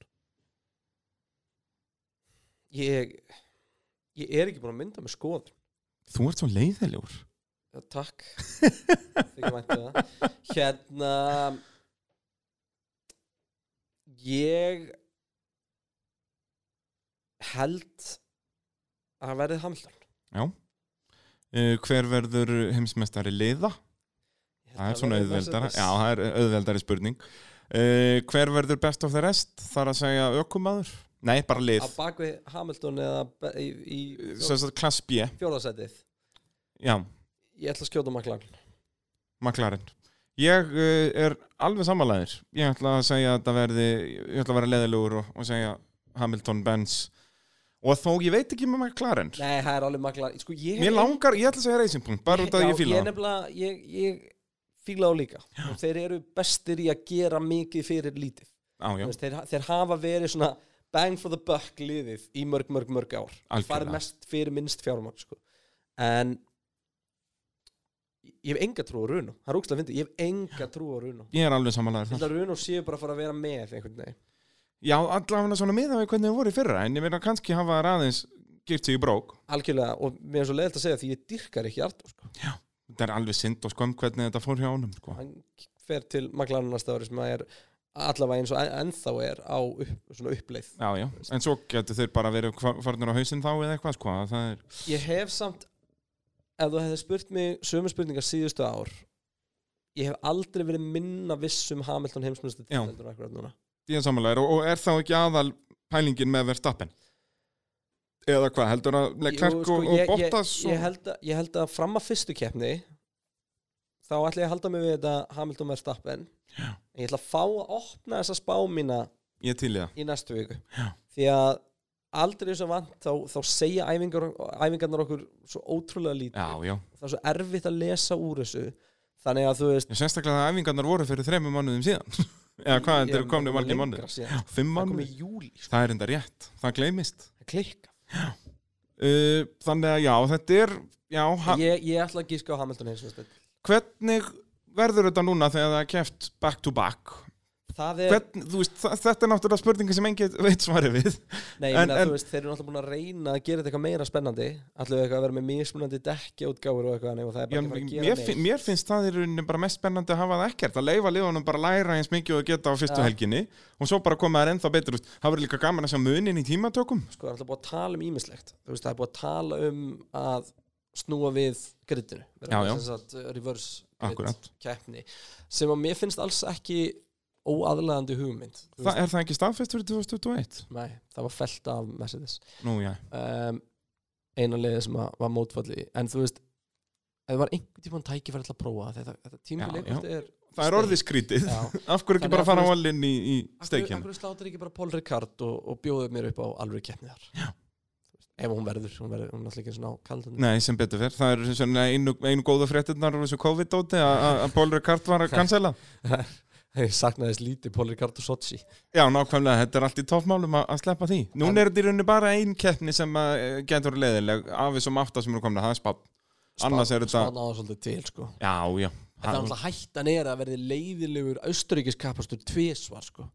S1: ég, ég er ekki búin að mynda með skoð
S2: Þú ert svo leiðilegur
S1: takk Þykir vænt um það. hérna ég held að það verði Hamilton
S2: uh, Hver verður heimsmeistari leiða?
S1: Ég held
S2: Það
S1: að
S2: er svona
S1: verði
S2: auðveldara
S1: Mercedes.
S2: Já, það er auðveldari spurning uh, Hver verður best of the rest? Þar að segja aukumadur? Nei, bara lið
S1: á bakvið Hamilton eða be- í, í
S2: Sem sagt klass B,
S1: fjóðarsætið
S2: já
S1: ég ætla að skjóta maklan
S2: McLaren Ég uh, er alveg samanlæðir Ég ætla að segja að það verði Ég ætla að vera leðilegur og, og segja Hamilton, Benz Og þó ég veit ekki með McLaren
S1: nei, það er alveg maklan sko, ég,
S2: Mér langar, ég ætla að segja racing point Bara út af að ég fíla
S1: ég
S2: það
S1: nefnilega, ég, ég fíla þá líka og þeir eru bestir í að gera mikið fyrir lítið
S2: Já,
S1: Þú
S2: já,
S1: veist, þeir, þeir hafa verið svona bang for the buck liðið í mörg, mörg, mörg ár
S2: Algjörlega.
S1: farið mest fyrir minnst fjármagn sko. en ég hef enga trú á Runo það er ógstlega fyndið, ég hef enga trú á Runo
S2: ég er alveg samanlæðir
S1: ég held að Runo séu bara að fara að vera með einhvern veginn
S2: Já, allavega svona miða við hvernig þau voru í fyrra En ég meina kannski hafa þær aðeins Gyrt sig í brók
S1: algjörlega og mér er svo leiðilt að segja því ég dyrkar ekki Artur sko.
S2: Þetta er alveg synd og skömm hvernig þetta fór hjá honum sko.
S1: hann fer til McLaren næsta ári sem að er allavega eins og en- ennþá er á upp, svona uppleið
S2: Já, já, en svo getur þeir bara verið hva- farnir á hausinn þá eða eitthvað sko. að Það er
S1: ég hef samt ef þú hefði spurt mig sömu spurningar síðustu ár ég hef aldrei verið minna viss um Hamilton heimsmyndstur
S2: Já.
S1: heldur en akkurat núna
S2: ég er samanlegar og, og er þá ekki aðal pælingin með Verstappen eða hvað, heldur að Leclerc
S1: Jú, sko,
S2: og, og
S1: ég-
S2: Bottas
S1: ég, ég, held að, ég held að fram að fyrstu keppni þá ætla ég að halda mig við þetta Hamilton Verstappen
S2: Já.
S1: en ég ætla að fá að opna þessa spá mína
S2: og ég til í það
S1: í næstu viku
S2: Já.
S1: því að aldrei þessu vant þá, þá segja æfingar, æfingarnar okkur svo ótrúlega lítið
S2: já, já,
S1: það er svo erfitt að lesa úr þessu þannig að þú veist
S2: ég sérstaklega að æfingarnar voru fyrir þremur mánuðum síðan eða
S1: ég-
S2: hvað, þetta eru komni margir
S1: lengra
S2: mánuð
S1: síðan.
S2: fimm
S1: það kom í
S2: mánuð,
S1: júli sko.
S2: það er enda rétt það gleymist
S1: það klikka
S2: uh, þannig að já, þetta er já, ha,
S1: ég, ég ætla að gíska á Hamilton heimsmyndstur
S2: hvernig verður þetta núna þegar það er keft back to back
S1: það er,
S2: Hvern, þú veist, þa- þetta er náttúrulega spurningi sem engin veit svari við
S1: nei,
S2: en-
S1: en, en,
S2: en-
S1: veist, þeir eru náttúrulega búin að reyna að gera þetta eitthvað meira spennandi allir eitthvað að vera með mismunandi dekki útgáfur og eitthvað þannig og það er
S2: Já,
S1: bara ekki að
S2: mér,
S1: fara að gera
S2: finn,
S1: neitt
S2: mér finnst það í rauninni bara mest spennandi að hafa það ekkert að leifa liðunum bara að læra eins mikið og þau geta á fyrstu
S1: Já.
S2: helginni og svo bara koma þær ennþá betur út það verður líka gaman að sjá munin í tímatökum
S1: sko, það er alltaf búið að tala um ímislegt veist, það er búið að tala um að snúa við grittinu
S2: Já, já.
S1: Sagt, uh, reverse
S2: Akkúrat.
S1: grid keppni sem að mér finnst alls ekki óaðlaðandi hugmynd Þú
S2: það, er það ekki staðfest fyrir 2021?
S1: nei, það var felt af Mercedes
S2: Nú já,
S1: um, eina leiði sem að var mótfalli en þú veist, ef það var einhvern tímann tækifæri til að prófa þetta, þetta
S2: Já,
S1: tímabili
S2: já.
S1: eitthvað er
S2: Það er orðið skrítið.
S1: já,
S2: Af hverju ekki
S1: Þannig
S2: bara
S1: að
S2: fara á
S1: þú
S2: allin í, í
S1: Akkur,
S2: steikjan?
S1: akkur slátur ekki bara Paul Ricard og, og bjóðu mér upp á alveg keppni þar
S2: Já.
S1: Ef hún verður, hún verður, hún er alltaf ekki svona á kaldan
S2: Nei, sem betur fer. Það eru svona einu, einu góða fréttinnar og þessu COVID-dóti að- að að Paul Ricard var að cancela.
S1: Ég saknaði þess lítið Paul Ricard og Sochi
S2: Já, nákvæmlega, þetta er allt í toppmálum að, að sleppa því. Núna er þetta í rauninni bara ein keppni sem að, eh, getur leðileg af þessum átta sem eru komin það er spátt. Annars er þetta...
S1: Spána á það svolítið til, sko
S2: Já, já.
S1: En það er alltaf hættan er að verði leiðilegur austuríkis kapastur tvisvar, sko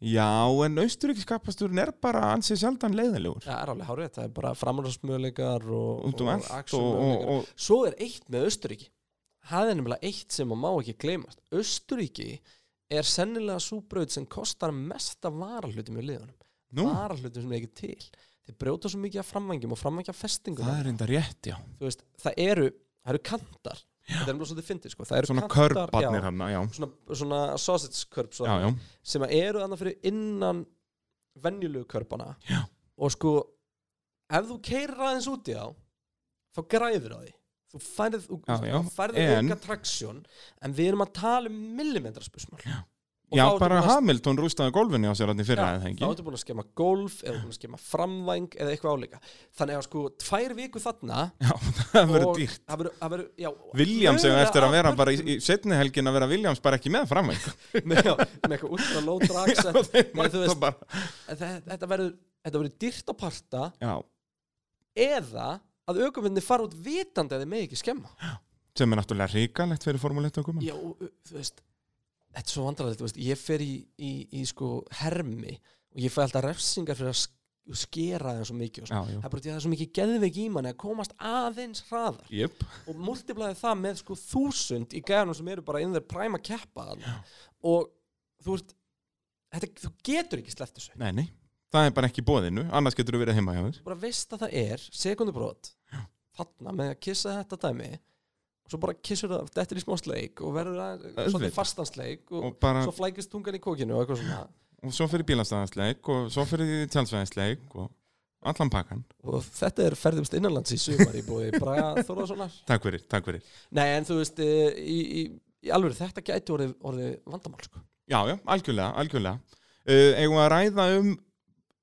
S2: Já, en austuríkis kapasturinn er bara ansið sjaldan leiðilegur.
S1: Það er alveg hárið, það er bara framræðsmöðleikar og,
S2: Út um allt og, og,
S1: actionmöguleikar.
S2: og
S1: Svo er eitt með Austuríki Það er nefnilega eitt sem maður má ekki gleymast Austuríki er sennilega súbraut sem kostar mesta varahlutum í liðunum
S2: nú,
S1: varahlutum sem er ekki til þeir brjóta svo mikið af framvangjum og framvangja festingum
S2: það
S1: það,
S2: er enda rétt, já.
S1: veist, það eru, það eru kantar þetta er mjög svolítið fyndið sko. það eru
S2: Svona
S1: kantar,
S2: körparnir
S1: já,
S2: hann, já.
S1: svona, svona sausage körp
S2: Já, já.
S1: sem að eru annað fyrir innan venjulegu körpana
S2: Já.
S1: og sko ef þú keirir aðeins út í þá þá græður á því þú færð, þú-
S2: Já, já,
S1: þú færð
S2: en-
S1: auka traksjón en við erum að tala um millimetra spursmál já,
S2: Já, bara Hamilton rústaði gólfinni á sér hann í fyrra eða
S1: þá
S2: hengi.
S1: ertu búin að skema golf eða búin að skema framvæng eða eitthvað áleika þannig að sko tvær viku þarna
S2: Já, það verður
S1: og
S2: dýrt.
S1: það verður- það verður- já,
S2: Williams hefur
S1: mögulega
S2: eftir að
S1: af
S2: vera bara í,
S1: mörgum-
S2: í setni helgin að vera Williams bara ekki með framvæg.
S1: með, já, með eitthvað útra lótra aksent Nei, þú veist,
S2: bara,
S1: þe- þetta verður þetta verður dýrt að parta
S2: já,
S1: eða að aukumvinni fara út vitandi að þið með ekki skemma
S2: sem er náttúrulega ríkalegt fyrir Formule 1 okkur.
S1: já, og, uh, þú veist þetta er svo vandrarlegt, þú veist, ég fer í, í, í sko hermi og ég fæ alltaf refsingar fyrir að sk- skera þeim svo mikið og svo.
S2: Já, já.
S1: það er bara því að það er svo mikið geðveik í manni að komast aðeins hraðar
S2: Jöp.
S1: og multiplaði það með sko þúsund í gæðanum sem eru bara inn þeir præma að keppa þarna. og þú veist þetta, þú getur ekki sleppt þessu
S2: Nei, nei. Það er bara ekki í bóðinu, annars getur þú verið heima hjá þér.
S1: bara veist að það er sekundubrót þarna með að kissa þetta dæmi og svo bara kissur það dettur í smá sleik og verður að
S2: Auðvitað.
S1: svolítið fastan sleik og,
S2: Og, bara,
S1: svo flækist tungan í kokinu og eitthvað svona
S2: og svo fyrir bílastæðansleik og svo fyrir tjálsvæðansleik og allan pakkan.
S1: og þetta er ferðumst innanlands í sumar í búi Braga Þorðarssonar
S2: Takk fyrir, takk fyrir.
S1: nei en þú veist eh, í, í, í alveg þetta gæti orðið, orðið vandamál sko.
S2: Já, já, algjörlega, algjörlega. Uh, eigum við að ræða um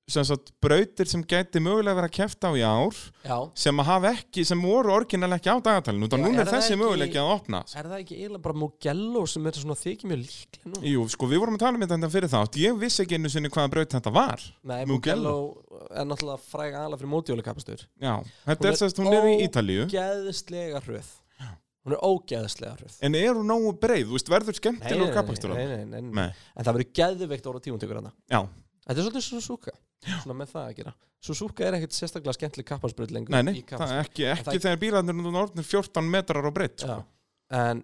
S2: sem sagt, brautir sem gæti mögulega verið að kefta á í ár
S1: já
S2: sem að hafa ekki, sem voru orginal ekki á dagatalinu,
S1: Já,
S2: þannig núna
S1: er
S2: er
S1: það
S2: þessi
S1: ekki-
S2: möguleiki að opna.
S1: Er það ekki eiginlega bara Mugello sem er svona þykir mjög líklega nú?
S2: Jú, sko, við vorum að tala um þetta fyrir þátt. Ég vissi ekki einu sinni hvaða braut þetta var.
S1: Nei,
S2: Mugello.
S1: Mugello, er náttúrulega fræg aðalega fyrir mótjólakapastur.
S2: Já, þetta
S1: Hún
S2: er
S1: er
S2: sérst, hún er í
S1: ó-
S2: Ítalíu.
S1: Geðslega hröð. Hún er ógeðslega hröð.
S2: En er hún nógu breið, þú veist, verður skemmtilegur kapastur
S1: nei,
S2: á?
S1: nei, nei, nei,
S2: Nei.
S1: En það verður geðveikt orða tímantökur hana.
S2: Já,
S1: Þetta er svolítið Suzuka. Svona með það að gera. Suzuka er ekkert sérstaklega skemmtileg kapasbröð lengur.
S2: nei, nei,
S1: í
S2: það
S1: kapasbröð.
S2: er ekki,
S1: það
S2: ekki
S1: er-
S2: þegar bílarnir núna orðnir 14 metrar á breytt, sko.
S1: Já. En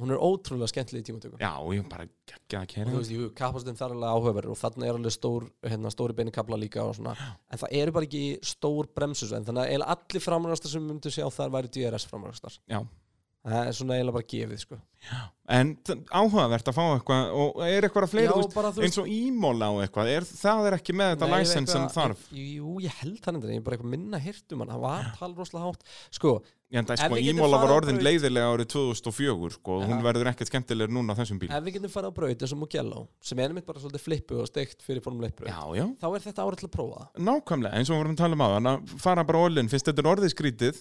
S1: hún er ótrúlega skemmtileg í tímantökum.
S2: Já, ég bara ekki að
S1: og
S2: kæra.
S1: þú veist, jú, kappastin þar er alveg áhugaverður og þarna er alveg stór, hérna, stóri beinu kapla líka og svona, en það eru bara ekki stór bremsusvenn, þannig að eiginlega allir framræðastar sem við myndum sjá þar væri DRS framræðastar
S2: Já.
S1: það er svona eiginlega bara gefið, sko
S2: En t- áhugavert að fá eitthvað, og er eitthvað að fleira, þú veist,
S1: bara,
S2: eins og ímóla á eitthvað, er, það er ekki með þetta
S1: Nei, ég veit
S2: license sem
S1: hvað-
S2: þarf.
S1: Jú, ég held það nefndir, ég er bara eitthvað minna hirt um hann, það var tal rosalega hátt sko,
S2: Ég enda,
S1: Ef
S2: sko,
S1: við getum
S2: ímóla var
S1: farið á
S2: orðin
S1: braut-
S2: leiðilega árið 2004, sko, og hún
S1: Já.
S2: verður ekkert skemmtilegur núna á þessum bíl.
S1: ef við getum farið á braut eins og Mugello, sem er einmitt bara svolítið flippu og steikt fyrir formuleitbraut,
S2: Já, já.
S1: þá er þetta árið til að prófa það
S2: Nákvæmlega, eins og við vorum að tala um aðan að fara bara ólinn, fyrst þetta er orðið skrítið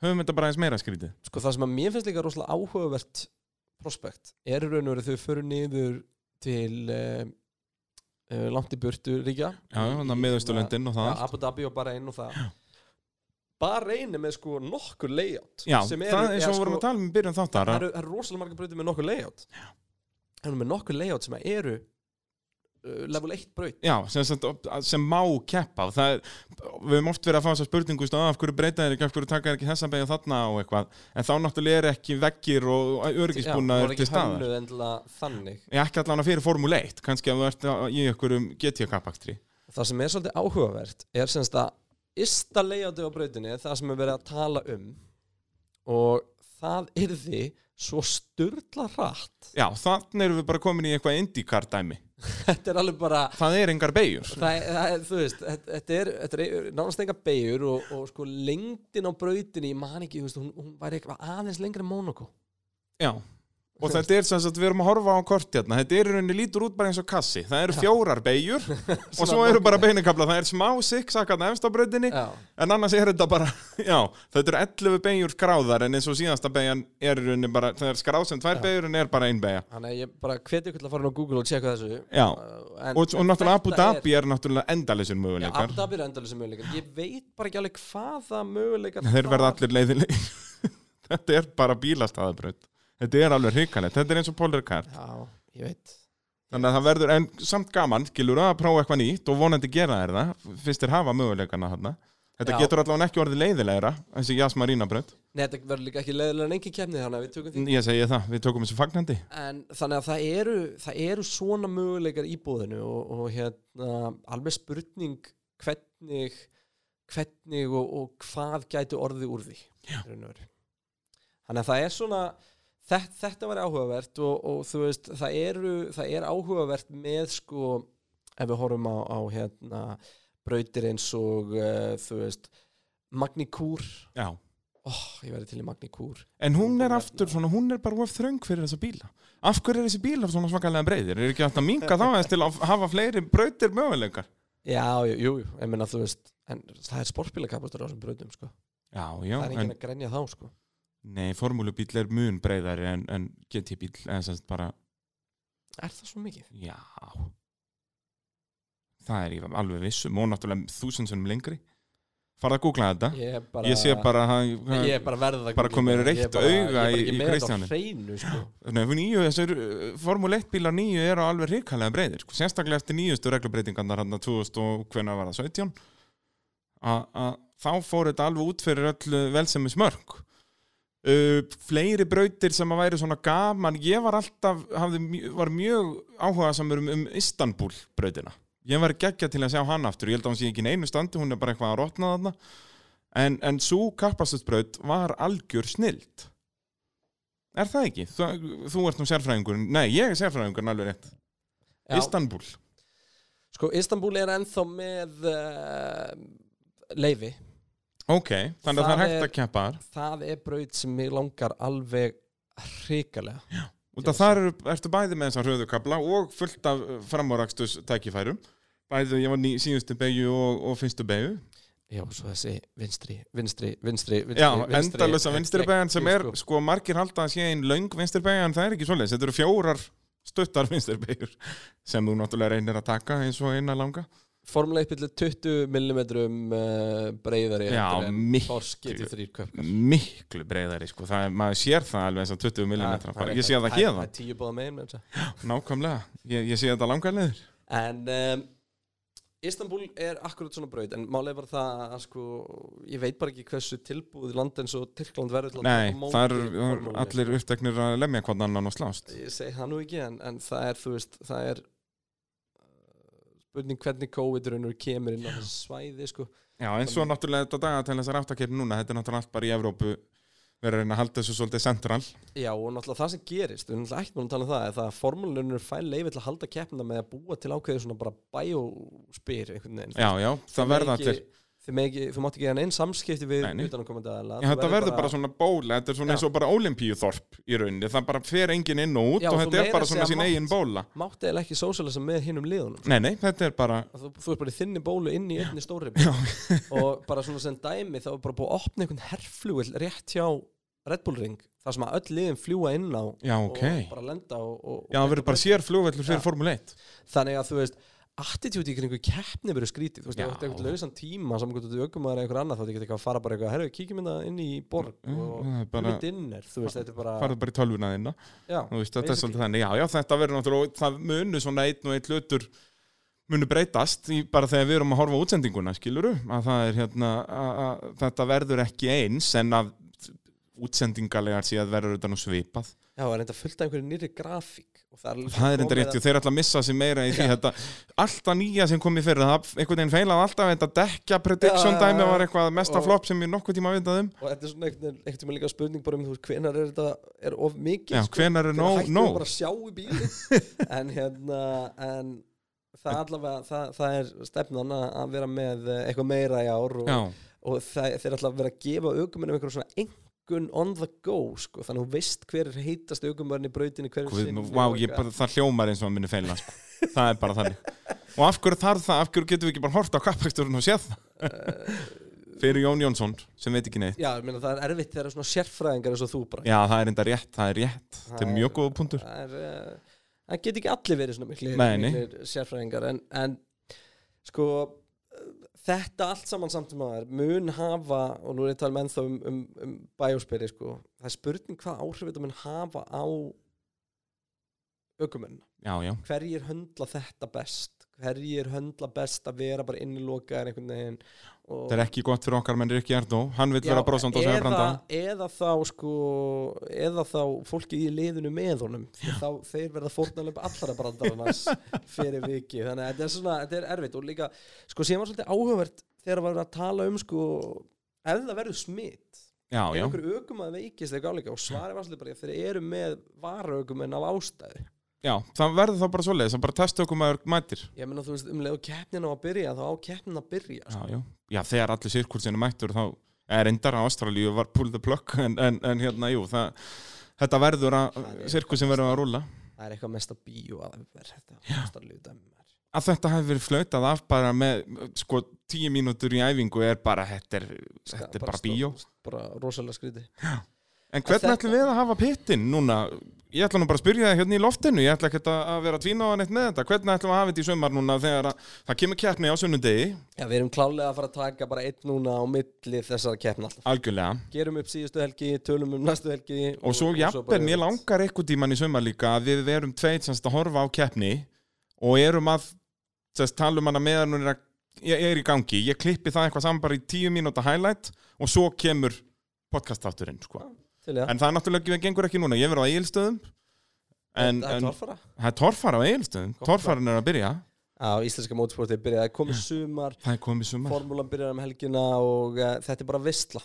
S2: höfum þetta bara eins meira skrítið
S1: sko það sem að mér finnst líka rosalega áhugavert prospekt er í raun og verið þau fyrir niður til uh, uh, langt í burtu ríkja
S2: Já, þannig að miðausturlöndin og það
S1: ja,
S2: allt.
S1: Abu Dhabi og Bahrein og það Bahrein er með sko nokkur layout
S2: Já,
S1: sem
S2: það
S1: eru, sko-
S2: er eins og við vorum að tala um í byrjun þáttar
S1: það
S2: að-
S1: eru, það eru rosalega margar brautir með nokkur layout já. það eru með nokkur layout sem að eru uh, level 1 braut
S2: Já, sem, sagt, sem má keppa það er, Við höfum oft verið að fá þess að spurningu stá, af hverju breyta þeir ekki, af hverju taka þeir ekki þessan beigja þarna og eitthvað, en þá náttúrulega er ekki veggir og
S1: það
S2: örgisbúnaður
S1: ekki
S2: til staðar
S1: hönnuð endilega þannig
S2: Ég ekki allan að fyrir formule 1 kannski ef þú ert á- í einhverjum GT-kapaktri
S1: Það sem er svolítið áhugavert er semst að ysta leiðandi á brautinni er það sem er verið að tala um og það yrði svo sturla hratt
S2: Já, þannig erum við bara komin í eitthvað IndyCar dæmi
S1: þetta er alveg bara
S2: það er engar beigjur
S1: það, er- það, er- þú veist, þetta, þetta er, þetta er nánast enga beigur og, og sko lengdin á brautinni, ég man ekki, þú veist, hún, hún væri eitthvað aðeins lengri en Monaco
S2: Já, og þetta er sem sagt, við erum að horfa á kort hérna, þetta er í rauninni lítur út bara eins og kassi, það eru fjórar beigjur og svo eru bara beinakabla, það er smá siksakana efst á brautinni,
S1: Já,
S2: en annars er þetta bara, já, þetta eru 11 beigjur skráðar en eins og síðasta beigjan er í rauninni bara, það er skráð sem tvær beigjur en er bara ein beigja.
S1: þannig að ég bara hveti ykkur til að fara inn á Google og tjekka þessu
S2: Já,
S1: Uh, en,
S2: og, og náttúrulega Abu
S1: þetta
S2: Dhabi er náttúrulega endalisir
S1: Já,
S2: möguleikar,
S1: Abu Dhabi er endalisir möguleikar Ég veit bara ekki alveg hvaða möguleikar
S2: þeir verða
S1: þar-
S2: allir leiðilegir, þetta er bara bílastæðabraut. Þetta er alveg hrikalegt, þetta er eins og Polar Car.
S1: Já, ég veit
S2: Þannig að það verður, en samt gaman, skilur að prófa eitthvað nýtt og vonandi gera þér það, fyrst þér hafa möguleikana þarna. Þetta
S1: Já.
S2: getur allavega ekki orðið leiðilegra, þessi Jas Marina brönd.
S1: Nei, þetta verður líka ekki leiðilega en engin kemni þannig að við tökum því
S2: Ég segi það, við tókum þessu fagnandi.
S1: En þannig að það eru, það eru svona möguleikar í bóðinu og, og hérna, alveg spurning hvernig, hvernig og, og hvað gæti orðið úr því. í raun og veru. Þannig að það er svona, þetta, þetta var áhugavert og, og þú veist, það, eru, það er áhugavert með sko, ef við horfum á, á hérna, brautir eins og, uh, þú veist, Magni Kúr,
S2: Já.
S1: oh, ég verði til í Magni Kúr.
S2: En hún er aftur svona, hún er bara of þröng fyrir þessa bíla. Af hverju er þessi bíla svona svakalega breyðir? Er ekki hægt að minga þá eða til að hafa fleiri brautir möguleikar?
S1: Já, jú, jú, jú, ég meina þú veist en það er sportbílakapastur á þessum brautum sko.
S2: Já, já,
S1: það er enginn
S2: en
S1: að grenja þá sko.
S2: nei, formúlubíl er mun breyðari en, en GT-bíl, eða sem sagt bara,
S1: Er það svo mikið?
S2: já. Það er ég alveg vissum og náttúrulega þúsundsunum lengri. Farða að googla þetta.
S1: Ég, er bara,
S2: ég sé bara hann,
S1: Ég er bara verða
S2: Bara komið reitt auga í- í Kristjáni.
S1: Hreinu, sko.
S2: nýju, þessir uh, Formule 1 bílar nýju eru alveg hrikalega breyðir sko. sérstaklega eftir nýjustu reglubreitingarnar hann 2000 og hvenær var það, 17 að að þá fór þetta alveg út fyrir öll velsemis mörg Uh, fleiri brautir sem að væri svona gaman ég var alltaf, hafði, mjö- var mjög áhuga samur um, um Istanbul brautina ég var geggja til að sjá hann aftur ég held að hann sé ekki í neinu standi, hún er bara eitthvað að rotna þarna en, en svo kappastusbraut var algjör snild Er það ekki? Þú, þú ert nú sérfræðingur Nei, ég er sérfræðingur alveg rétt
S1: Já,
S2: Istanbul
S1: sko, Istanbul er ennþá með uh, leifi
S2: Ok, þannig að það
S1: Það
S2: er hægt
S1: er-
S2: að keppa þar
S1: það er braut sem mig langar alveg hrikalega
S2: Út af þar eru, ertu bæði með þessar röðukabla og fullt af framárakstus tækifærum Bæði, ég var ný, síðustu beigju og, og fyrstu beigju
S1: Já, svo þessi vinstri, vinstri, vinstri, vinstri
S2: Já,
S1: vinstri-
S2: endalösa vinstri beigjan sem er
S1: Sko.
S2: sko margir halda að sé einn löng vinstri beigja en það er ekki svoleiðis, þetta eru fjórar stuttar vinstri beigjur sem þú náttúrulega reynir að taka eins og eina langa
S1: Formuleik byrja 20 mm uh, breyðari
S2: Já,
S1: heldur en
S2: miklu.
S1: Porsche GT3 köp
S2: miklu breyðari sko, það er, maður sér það alveg þess að 20 mm, ég sé það ekki
S1: Ah, Það er tíu bóða megin með þessa.
S2: Nákvæmlega, ég, ég sé þetta langar leður
S1: En um, Istanbul er akkurat svona braut En málega var það að sko Ég veit bara ekki hversu tilbúið land En svo Tyrkland verður til að
S2: Nei,
S1: taka á móti
S2: það eru
S1: formúlunni.
S2: allir uppteknir að lemja hvern annan og slást
S1: Ég segi það nú ekki en, en það er, þú veist, það er uh, Spurning hvernig COVID-runur kemur inn á þessi svæði sko.
S2: Já, en svo náttúrulega þetta dagatel þessar aftakirn núna þetta er náttúrulega allt bara í Evrópu við erum að reyna að halda þessu svolítið central
S1: Já, og náttúrulega það sem gerist, við erum náttúrulega ekkert búin að tala um það, er það að formúlunur fær leiði til að halda keppna með að búa til ákveðið svona bara bæjóspyr einhvern veginn.
S2: Já, já, það verða allir
S1: Þú, ekki, þú mátt ekki gera einn samskipti við
S2: Nei, nei.
S1: utanakomandi aðeila
S2: Já, þetta verður bara svona bóla, þetta er svona
S1: Já.
S2: eins og bara olimpíuþorp í rauninni, það bara fer enginn inn og út
S1: Já,
S2: og
S1: þú
S2: þetta er
S1: meira
S2: bara
S1: að
S2: svona
S1: segja
S2: sín
S1: mátt.
S2: eigin bóla
S1: Mátti eða ekki sósjálisa með hinnum liðunum
S2: Nei, nei, þetta er bara
S1: Að þú, þú er bara í þinni bólu inn í einni stóri bólu. og bara svona sem dæmi þá er bara búið að opna einhvern herrflugil rétt hjá Red Bull Ring þar sem að öll liðin fljúa inn á
S2: Já, ok
S1: og bara lenda og, og,
S2: Já, það verður bara sér flugvellur fyrir
S1: Já.
S2: Formule 1
S1: þannig að þú veist attitúti í kringu keppni verður skrítið þú veist,
S2: Já.
S1: þú ætti einhvern lausan tíma sem einhvern ökum eða einhver annað þá þetta getur eitthvað að fara bara eitthvað herru, kíkjum hérna inn í borg
S2: Mm,
S1: og
S2: það er bara-
S1: bara, dinner, þú veist, þetta er bara
S2: farðu bara í tölvuna þinna
S1: já,
S2: Þú veist, þetta er
S1: basically.
S2: svolítið þannig, já, já, þetta verður náttúrulega, og það munu svona einn og einn hlutur munu breytast í, bara þegar við erum að horfa á útsendinguna, skiluru, að það er hérna, að, að, þetta verður ekki eins en að útsendingalegar síðan verður þetta nú svipað.
S1: Já, það er enda fullt af einhverju nýri grafík og og það er,
S2: Það er enda rétt, og þeir ætla að missa sig meira í því þetta, alltaf nýja sem kom í fyrir, það einhvern veginn feilaði alltaf þetta dekja prediction
S1: Já, já, já,
S2: dæmi
S1: já.
S2: var eitthvað mesta
S1: Og-
S2: flopp sem ég nokkuð tíma vitað um.
S1: og þetta er svona einhvern veginn- einhvern tímann líka spurning bara um þú veist hvenar er þetta er of mikið sko.
S2: Já, hvenær er nóg,
S1: hættum við
S2: nóg?
S1: bara að sjá í bílinn en hérna en það allavega, það, það er stefnan að, að vera með eh, eitthvað meira í ár og,
S2: Já,
S1: og það, þeir allavega vera að gefa aukumennum einhverjum svona engun on the go sko, þannig að þú veist hver er heitast aukumenn í brautinni hver er
S2: hvað,
S1: sinni
S2: vá,
S1: og
S2: ég
S1: eitthvað.
S2: bara, það hljómar eins og að minni feila, sko. það er bara þannig. Og af hverju þarf það, af hverju getum við ekki bara hort á kappaksturinn og séð það? Fyrir Jón Jónsson, sem veit ekki neitt.
S1: Eh, já, ég meina það er erfitt þegar það er svona sérfræðingar eins og þú bara
S2: Já, það er enda rétt, það er rétt, þetta er
S1: Það er-
S2: mjög góða punktur.
S1: það er eh, það get ekki allir verið svona miklir,
S2: Nei, nei.
S1: miklir sérfræðingar en, en sko eh, þetta allt saman samt um aðeir mun hafa, og nú er ég að tala menn þá um, um, um bæjóspyri sko það er spurning hvað áhrif þetta mun hafa á aukumenn
S2: Já, já,
S1: hverjir höndla þetta best hverjir höndla best að vera bara innilokaðir einhvern veginn og
S2: það er ekki gott fyrir okkar menn Rikki Erdó, hann vil
S1: Já,
S2: vera brosand og segja branda.
S1: eða þá sko eða þá fólkið í liðinu með honum Því þá þeir verða fórnalöf allra brandarannars fyrir viki þannig að þetta er svona, þetta er erfitt og líka sko sem var svolítið áhugavert þegar var að tala um sko ef það verður smitt
S2: Já,
S1: ef
S2: já,
S1: einhver aukum að veikist þegar gáleika og svarið var svolítið bara þeir eru með varaukum en af ástæðu
S2: já, það verður þá bara svoleiðis, það bara testa okkur maður mætir.
S1: ég meina þú veist um leið og keppnin á að byrja þá á keppnin að byrja
S2: já, já. já, þegar allir sirkursinu mættur þá er endara Ástralíu var pull the plug en, en, en hérna, jú, það þetta verður að,
S1: Það er-
S2: sirkursin verður að rúla
S1: það er eitthvað mest að bíó að verða þetta ástæðlegu dæmi maður.
S2: að þetta hefur verið flautað af bara með sko tíu mínútur í æfingu er bara, þetta er, þetta er bara
S1: stó-
S2: bíó
S1: bara rosalega skrítið
S2: en hvernig
S1: þetta-
S2: ætlum við að hafa pittin núna ég ætla nú bara að spyrja það hérna í loftinu ég ætla ekki að- að vera tvínaðan eitt með þetta hvernig ætlum við að hafa þetta í sömar núna þegar að, það kemur kjærni á sunnudegi,
S1: Já, við erum klálega að fara að taka bara einn núna á milli þessara keppna alltaf.
S2: algjörlega
S1: Gerum upp síðustu helgi, tölum um næstu helgi
S2: og svo jafnvel,
S1: bara-
S2: mér langar eitthvað tíman í sömur líka að við verum tveit semst að horfa á keppni og erum að semst tala um hana meðan hún er, að, ég er í gangi, ég klippi það eitthvað saman bara í tíu mínúta highlight og svo kemur podcastátturinn sko.
S1: Til ég,
S2: en það er náttúrulega ekki, gengur ekki núna, ég verður á eigilstöðum en,
S1: það er
S2: en
S1: torfara
S2: það er torfara á eigilstöðum
S1: Gott
S2: torfarin er að byrja,
S1: Já, íslenska mótsportið byrjaði að koma sumar
S2: það er komið sumar
S1: Formúlan byrjar um helgina og uh, þetta er bara vistla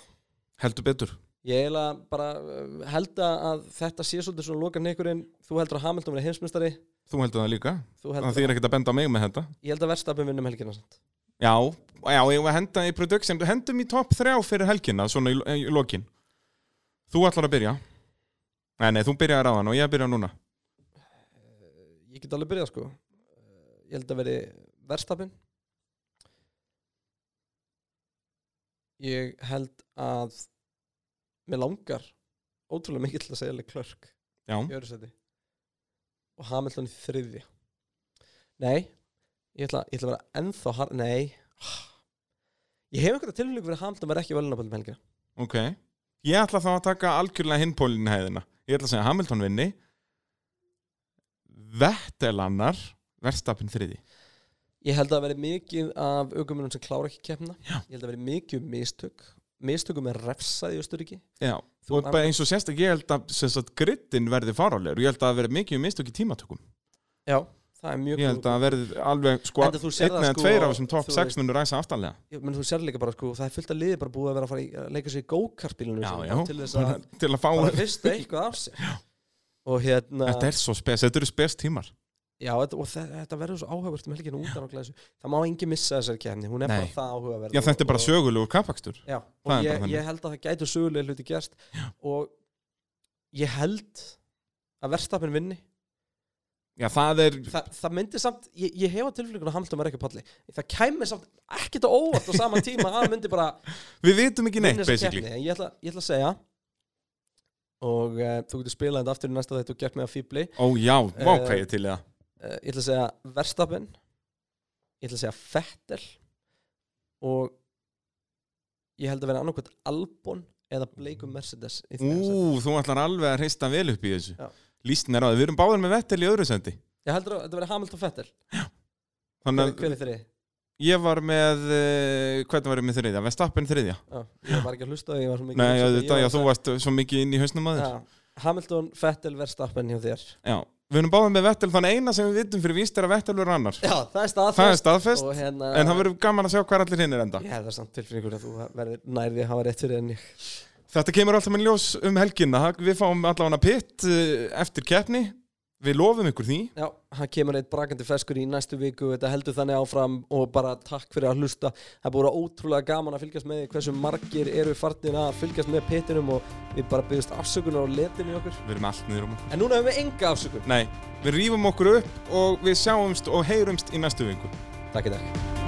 S2: heldur betur,
S1: Ég eiginlega bara uh, held að þetta sé svolítið svona lokan ykkurinn Þú heldur að Hamilton verið heimsmyndstari
S2: þú heldur það líka
S1: Þú
S2: það
S1: heldur
S2: þýr ekkert að benda á mig með þetta
S1: Ég held að verðstapin vinnum helgina samt
S2: Já, já, ég var að henda í production Hendum í topp þrjá fyrir helgina Svona í, lo- í lokin Þú ætlar að byrja Nei, nei, þú byrjar á hann og ég byrja núna
S1: Ég get alveg byrjað sko Eh, Ég held að veri verðstapin Ég held að Mér langar Ótrúlega mikið til að segja Leclerc
S2: Já,
S1: í öðru seti Og Hamilton í þriðja Nei Ég ætla, ég ætla að vera ennþá har... Nei Ég hef einhverja tilfélug fyrir að Hamilton verið ekki velunaböldum helgina
S2: ok Ég ætla þá að taka algjörlega hinpólinn hæðina Ég ætla að segja Hamilton vinni Vettel annar Verstapin þriði
S1: Ég held að það verið mikið af aukumunum sem klára ekki keppna
S2: Já.
S1: Ég held að verið mikið um mistök Mistökum er refsað í Östuríki
S2: Já,
S1: Þú-
S2: og bara eins og sérst Ég held að sem sagt, griddin verði farálegur Ég held að það verði mikið um mistök í tímatökum
S1: Já, það er mjög
S2: Ég held að það verði alveg sko
S1: Enda þú
S2: Einn
S1: sérð það,
S2: eða
S1: sko,
S2: tveir af þessum topp
S1: þú
S2: 6 munur ræsa aftanlega
S1: ég, menn þú sér líka bara sko, það er fullt af liði bara búið að vera að fara í, að leika sér í go-kartbílunum
S2: Já,
S1: sínum
S2: já,
S1: til þess
S2: bara
S1: að
S2: til að fá
S1: bara vista eitthvað af sér og hérna
S2: Þetta er svo spes, þetta eru spes tímar
S1: já, þetta, og þe- þetta verður svo áhugavert um helginu út af náttúrulega þessu, það má engin missa þessar kemni hún er
S2: Nei.
S1: bara það áhugaverð
S2: Já, þetta er bara
S1: og-
S2: sögulegur kapakstur
S1: Já,
S2: Það er
S1: og
S2: bara
S1: ég,
S2: þannig.
S1: ég held að það gætu sögulega hluti gerst og ég held að verðstapin vinni
S2: Já, það er,
S1: Þa, það myndi samt, ég, ég hefa tilfélgun að Hamilton var ekki á palli, það kæmi samt ekkert á óvart á sama tíma að hann myndi bara
S2: við vitum ekki neitt
S1: vinna þessa
S2: basically
S1: keppni, en ég ætla, ég ætla að segja og uh, þú getur spilað þetta aftur í næsta þetta og gert mig að fýbli
S2: Ó já, vá
S1: Eh,
S2: hvað ég er til í það
S1: uh, ég ætla að segja Verstappen ég ætla að segja Fettel og ég held að vera annarkvæmt Albon eða Bleikum Mercedes í
S2: Ú,
S1: þeim sæti.
S2: þú ætlar alveg að hrista vel upp í þessu
S1: Já.
S2: Lístin er á það, við erum báðir með Vettel í öðru sendi
S1: ég heldur að þetta vera Hamilton Fettel
S2: Þannig að
S1: hver er þeirri?
S2: ég var með, uh, hvernig var ég með þriðja? Vestappen þriðja
S1: ég var ekki að hlusta ég var svo mikið um
S2: Nei,
S1: ég
S2: já,
S1: var
S2: þetta, já,
S1: að-
S2: þú varst svo mikið inn í hausnum aður
S1: Já, Hamilton Fettel Verstappen hjá þér
S2: Já, við erum báðið með Vettel þannig eina sem við vitum fyrir víst er að Vettel verður annar
S1: Já, það er staðfest
S2: það er staðfest,
S1: Og hérna
S2: en það verður gaman að sjá hvað allir hinn er enda
S1: Ég hefði samt tilfinningur að þú verður nærði að hafa rétt fyrir en ég
S2: þetta kemur alltaf með ljós um helginna það- við fáum allavega pitt eh, eftir keppni við lofum ykkur því
S1: Já, það kemur eitt brakandi feskur í næstu viku þetta heldur þannig áfram og bara takk fyrir að hlusta það er búin ótrúlega gaman að fylgjast með því hversu margir eru farnir að fylgjast með pittinum og við bara byggjast afsökunar og letinu í okkur
S2: við erum allt niður um okkur
S1: en núna hefum við enga afsökun
S2: nei, við rýfum okkur upp og við sjáumst og heyrumst í næstu vingu
S1: Takk í dag